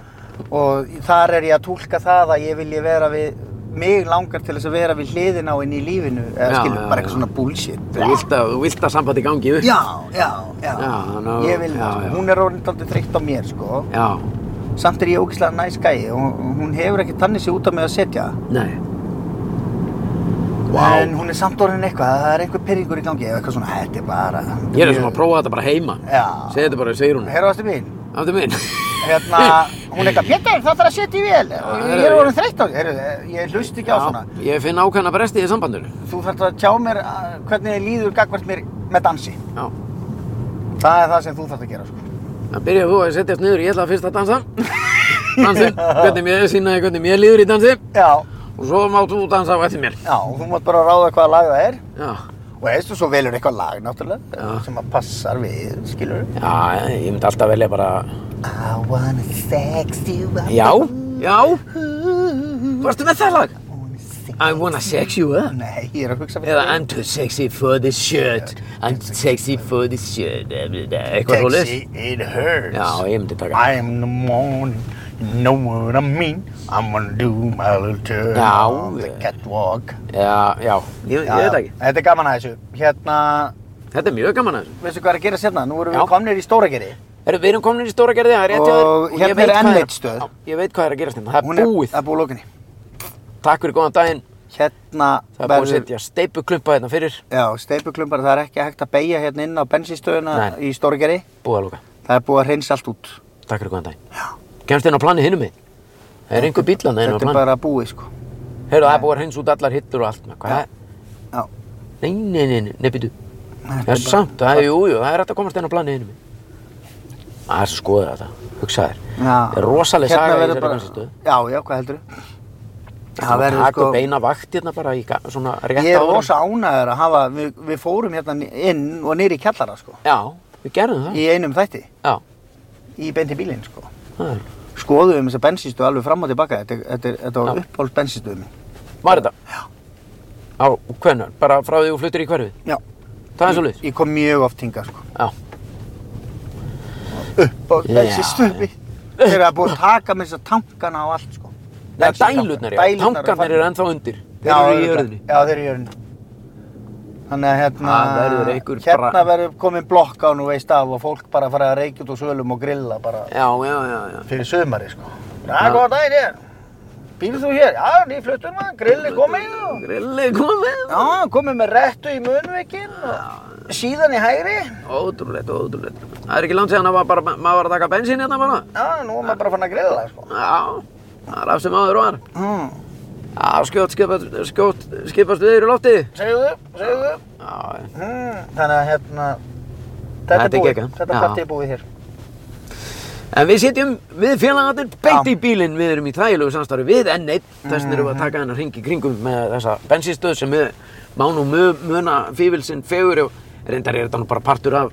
og þar er ég að túlka það að ég vilji vera við, mig langar til þess að vera við hliðin á henni í lífinu, eða Já, skilur, já, bara eitthvað já. svona bullshit. Þú vilt að, þú vilt að sambandi gangi upp Já, já, já, Já, ná, ég vil já, það, já. sko. hún er orðin aldrei þreytt á mér, sko, Já, samt er ég ógislega næs gæi og hún- hún hefur ekki tannir sig út á mig að setja það. nei Vá. En hún er samt orðin eitthvað, það er einhver pyrringur í gangi eða eitthvað svona, þetta er bara... Ég er sem að prófa þetta bara heima Já. Segðu þetta bara, segir hún Herra ástu mín, Aftur minn hérna, hún er eitthvað, Pétur, það þarf að setja í vel, ég er herra, orðin þreytt á þér, Heyrðu, ég hlust ekki á svona. ég finn ákveðna bresti í sambandinu Þú þarf að tjá mér að, hvernig þið líður gagvart mér með dansi. Já Það er það sem þú þarf að gera, sko. Það byrjaði þú að setjast niður, ég ætla að fyrst að dansa Dansi, hvernig mér sína þér hvernig mér líður í dansi Já, Og svo mátt þú dansa á eftir mér já, þú mátt bara ráða hvaða lag það er Já, og veistu, svo velur eitthvað lag, náttúrulega, Já. sem að passar við, skilur við. já, ég myndi alltaf velja bara I wanna sex you up. Já, já Varstu með það lag? I wanna sex- I wanna sex you up Nei, ég er að hugsa fyrir Eða I'm too sexy for this shirt I'm too sexy for this shirt Eitthvað svo Sexy, it hurts. Já, ég myndi taka I am the morning, you know what I mean. I'm gonna do my little turn Já, on the eh. catwalk. Já, já, ég, ég veit ekki Þetta er gaman að þessu. Hérna, Þetta er mjög gaman að þessu veistu hvað er að gera sérna? Nú erum Já. við komnir í Stóragerði. Herru, Við erum komin í stóra gerði það er rétt hjá þér Og ég hérna veit er hvað enn er- eitt stöð. Já, Ég veit hvað er að gerast hérna, það Hún er búið Það er búið lókinni. Takk fyrir góðan daginn Hérna Það er búið að setja steipuklumpa hérna fyrir Já, steipuklumpar, það er ekki hægt að beigja hérna inn á bensinstöðuna Nei. í Stóragerði. Búið að lóka Það er búið að hreinsa allt út. Takk fyrir góðan daginn Kemst hérna á plani hinum við Það er einhver bílan hérna á Þetta er plani bara búið, sko. Herru, það er búið að hreins út allar hittur og allt maður. Hvað? Já. Nei, nei, nei, nei, nei, býtu Þetta Það er samt, það er, jú, jú, það er hægt að komast inn á planið innum minn. Það er svo skoðið þetta, hugsa þér. Það er rosaleg saga í Hérna verður þessari bara- bensinstöð. Já, já, hvað heldur Það verður sko... Takk beina vakt hérna bara í ga- svona rétt Ég er áður en- rosa ánægður að hafa, við, við fórum hérna inn og niður í kjallara sko, Já, við gerðum það. í einum þætti, Já, í beinti bílinn sko. það er... skoðuðum þessa bensinstöð alveg fram og tilbaka þetta, er- þetta, er- þetta var Já. uppáhalds bensinstöðum mín Var þetta? Já. Á hvernar? Bara frá því þú fluttir í hverfið? Já. Það er svo liðs? ég kom mjög oft hingað sko. Já. uppáhalds Já, bensinstöðum mín þegar það er búið að taka með þessa tankana og allt sko. Nei, Bensintanka. dælurnar, já. Dælurnar Tankarnir farnir. eru ennþá undir. Þeir Já, eru í örugglega. jörðinni. Já, þeir eru í jörðinni. Þannig að hérna, Það verður einhver hérna bra- verður komin blokk á nú veist af og fólk bara að fara að reykja út úr sölum og grilla bara Já, já, já, já. fyrir sömari sko. Já, Já. góðan daginn hér. Býrðu þú hér? Já, nýfluttur maður, grilli komið og... Grilli komið. Já, komið með réttu í munveikin og síðan í hægri. Ótrúlegt, ótrúlegt. Það er ekki langt síðan að maður bara, maður var að taka bensín hérna bara. Já, nú er maður bara fann að grilla sko. Já, það er af sem áður var. Mm. Já, skjótt skipast, skjótt skipast viður í lofti. Segðu, segðu. Já, já. Mm. Þannig að hérna, þetta Þetta er er búið, geggjað. þetta Já. partí er búið hér. En við sitjum við félagarnir beint Já. Mhm. í bílinn, við erum í þægilegu samstarfi við N1, þess vegna erum við að taka hennar hring í kringum með þessa bensinstöð sem við mánum muna fífilsinn fegur og reyndar er þetta nú bara partur af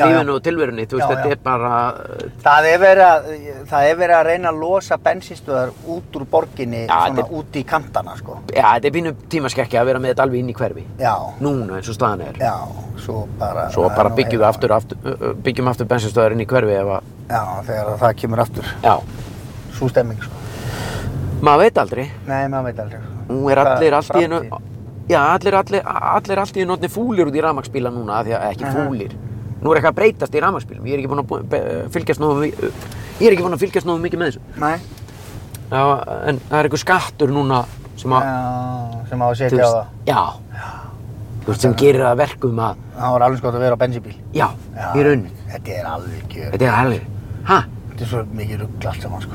Já, já. lífinu og tilverunni, þú veist, Já, þetta já. er bara, Það er, verið að, það er verið að reyna að losa bensinstöðar út úr borginni, Já, svona þetta- út í kantana, sko. já, þetta er pínu tímaskekkja að vera með þetta alveg inn í hverfi, Já, núna eins og staðan er. já, svo bara... Svo það er bara nú byggjum við heila- aftur, aftur, ö, ö, byggjum aftur bensinstöðar inn í hverfi ef að, Já, þegar það kemur aftur, já, svo stemming, sko. maður veit aldrei, Nei, maður veit aldrei, sko. nú er Hvað- allir allt í einu, framtíð? já, allir, allir, allir allt í einu orðnir fúlir út í rafmagsbíla núna, af því að ekki fúlir, nú er eitthvað að breytast í rafmagsbílum, ég er ekki búinn að bú- be- fylgjast nógu, mi- ö, ég er ekki búinn að fylgjast nógu mikið með þessu, Nei. já, en það er eitthvað skattur núna sem að, Já, sem á að þú setja á veist, það. já, þú veist, sem gerir það að verkum að, Það var alveg skott að vera á bensínbíl. já, í rauninni, Þetta er alveg gjör. þetta er alveg, hæ, Þetta er svo mikið rugl allt saman, sko.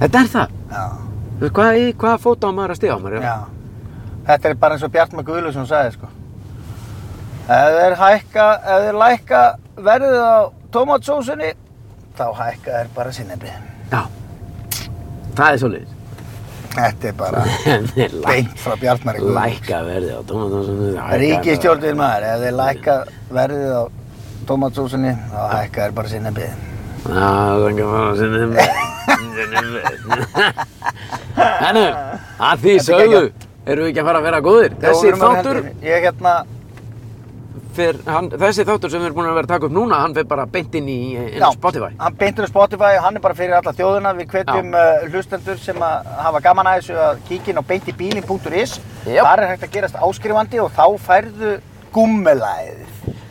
þetta er það, Já, þú veist, hvað, í- hvað fót á maður að stiga á maður, já. Þetta er bara eins og Bjartmar Guðlusson sagði, sko. Ef þeir hækka, ef þeir lækka verðið á tómatsósunni, þá hækka þeir bara sinnebrið. já, það er svolítið, Þetta er bara Beint beint frá Bjartmar Guðlusson. Lækka verði á tómatósunni Ríkistjórnin maður, ef þeir lækka verðið á tómatsósunni, þá hækka þeir bara sinnebrið. Já, þannig að fara sinni Þannig að því Þetta er sögðu erum við ekki að fara að vera góðir Þessi þáttur, Ég hérna, fer, hann, þessi þáttur sem við erum búin að vera að taka upp núna hann fer bara beint inn í inn á já, Spotify hann beintur á Spotify og hann er bara fyrir alla þjóðina. Við hvetjum uh, hlustendur sem að hafa gaman að þessu að kíkja inn á beintibílin.is. Jep. Þar er hægt að gerast áskrifandi og þá færðu gúmmelæðið.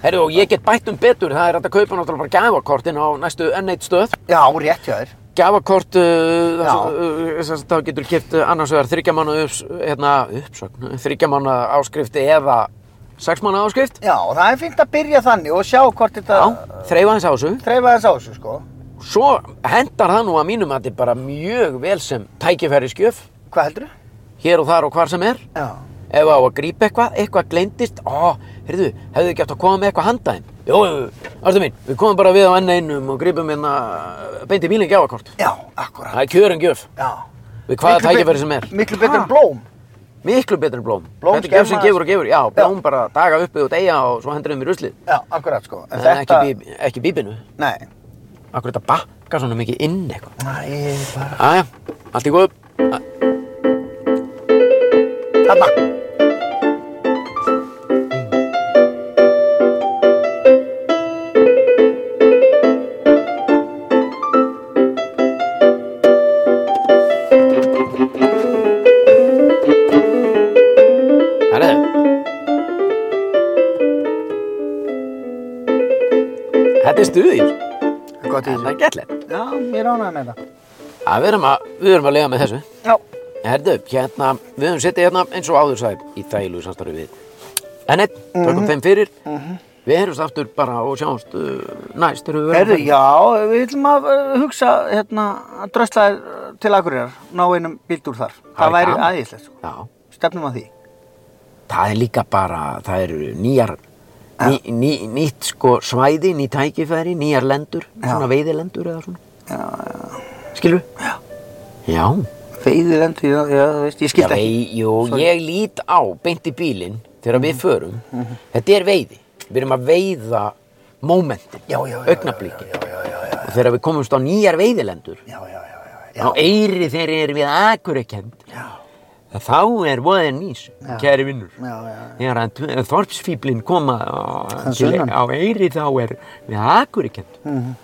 Herru og ég get bætt um betur það er hægt að kaupa náttúrulega bara gafakortin á næstu N1 stöð Já, rétt hjá þér. Gjafakort, uh, Já. það uh, sem sagt, þá getur kipt annars vegar þryggja mánu ups, hérna, uppsögn, þryggja mánu áskrift eða sex mánu áskrift. Já, og það er fínt að byrja þannig og sjá hvort þetta Já, þreifa hans á þessu. þreifa þess á þessu, sko. Svo hendar það nú að mínum að þetta er bara mjög vel sem tækifæri skjöf, Hvað heldur þú? hér og þar og hvar sem er. Já. Ef á að grípa eitthvað, eitthvað gleymdist, ó, heyrðu, hefðu ekki átt að koma með eitthvað handa þeim? Jó, jú, jú, ástu mín, við komum bara við á N1-um og grípum hérna uh, beint í bílinn gjafakort. Já, akkurat. Það er kjörin gjöf, Já. við hvaða Miklu tækifæri bet- sem er. Miklu betur Ha? en blóm. Miklu betur en blóm. Blóm Þetta er gjöf sem skemma- gefur og gefur, já, blóm Já. bara daga uppið og deyja og svo hendur þeim í ruslið. Já, akkurat, sko. En þetta... ekki, bí, ekki bíbinu. Nei. Akkur þetta bakka svona mikið inn eitthvað. Nei, bara... Jæja, allt í góðu. Þarna. Herðu. Þetta er stuðir. Það er Gott Þetta í þessu. er gætlegt. Já, ég ránaði með það. Já, við erum að, við erum að lega með þessu. Já. Herðu, hérna, við höfum setið hérna eins og áður sagði í þægilegu samstarfi við. En eitt, tökum þeim fyrir. Við heyrjumst aftur bara og sjáumst uh, næst. erum við verðum Herðu, farin. já, við ætlum að uh, hugsa, hérna, að drösla þér uh, til Akureyrar, ná einum bíldur þar. Það er Það væri gaman. aðeinslegt, sko. Já. Stefnum að því. það er líka bara, það eru nýjar, ný, ný, nýtt sko svæði, ný tækifæri, nýjar lendur, svona veiðilendur eða svona. Já, já. Skilur? Já. Já, Veiðilendi, já, já, þú veist, ég skilt ekki. vei, jú, ég lít á beint í bílinn þegar Mhm. við förum. Þetta er veiði. Við erum að veiða momentin, Já, já, já, já, augnablíkin. Og þegar við komumst á nýjar veiðilendur, Já, já, já, já, já. á Eyri þegar ég er við akurekend já, þá er voðin mís, Já. kæri vinnur já, já, þegar að tve- þorpsfíflin koma á, Að til, sunnan. á Eyri þá er við akurekend Mhm.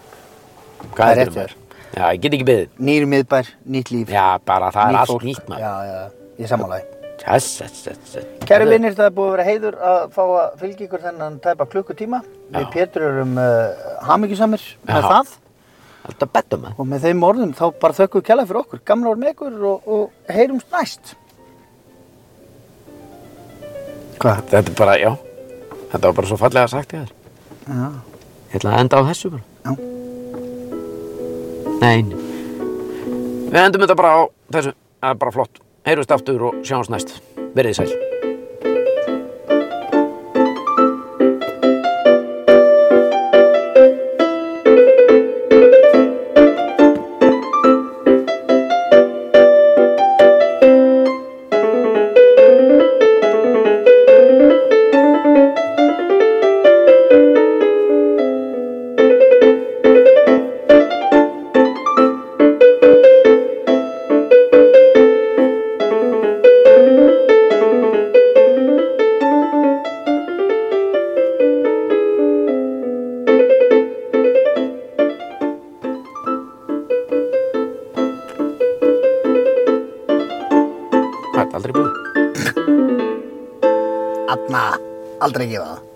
Hvað Það er heldur rétt hjá þér. Já, ég get ekki beðið nýr miðbær, nýtt líf, Já, bara það er nýtt allt fólk. nýtt maður Já, já, ég sammálaði. Þess, þess, þess, þess Kæru vinnir, það er búið að vera heiður að fá að fylgja ykkur þennan tæpa klukkutíma. Við Já. Pétur erum uh, hamingjusamir með Já. það Alltaf betur maður og með þeim orðum þá bara þökkum við kjalla fyrir okkur. Gamla orð með ykkur og, og heyrumst næst. Hvað? Þetta er bara, já Þetta var bara svo fallega sagt ég þér Já. Ég ætla að enda á þessu bara Já. Nei nei. Við endum þetta bara á þessu Það er bara flott Heyrjumst aftur og sjáumst næst Verðið sæl Hvað, þetta er aldrei búið Anna, aldrei gefa það.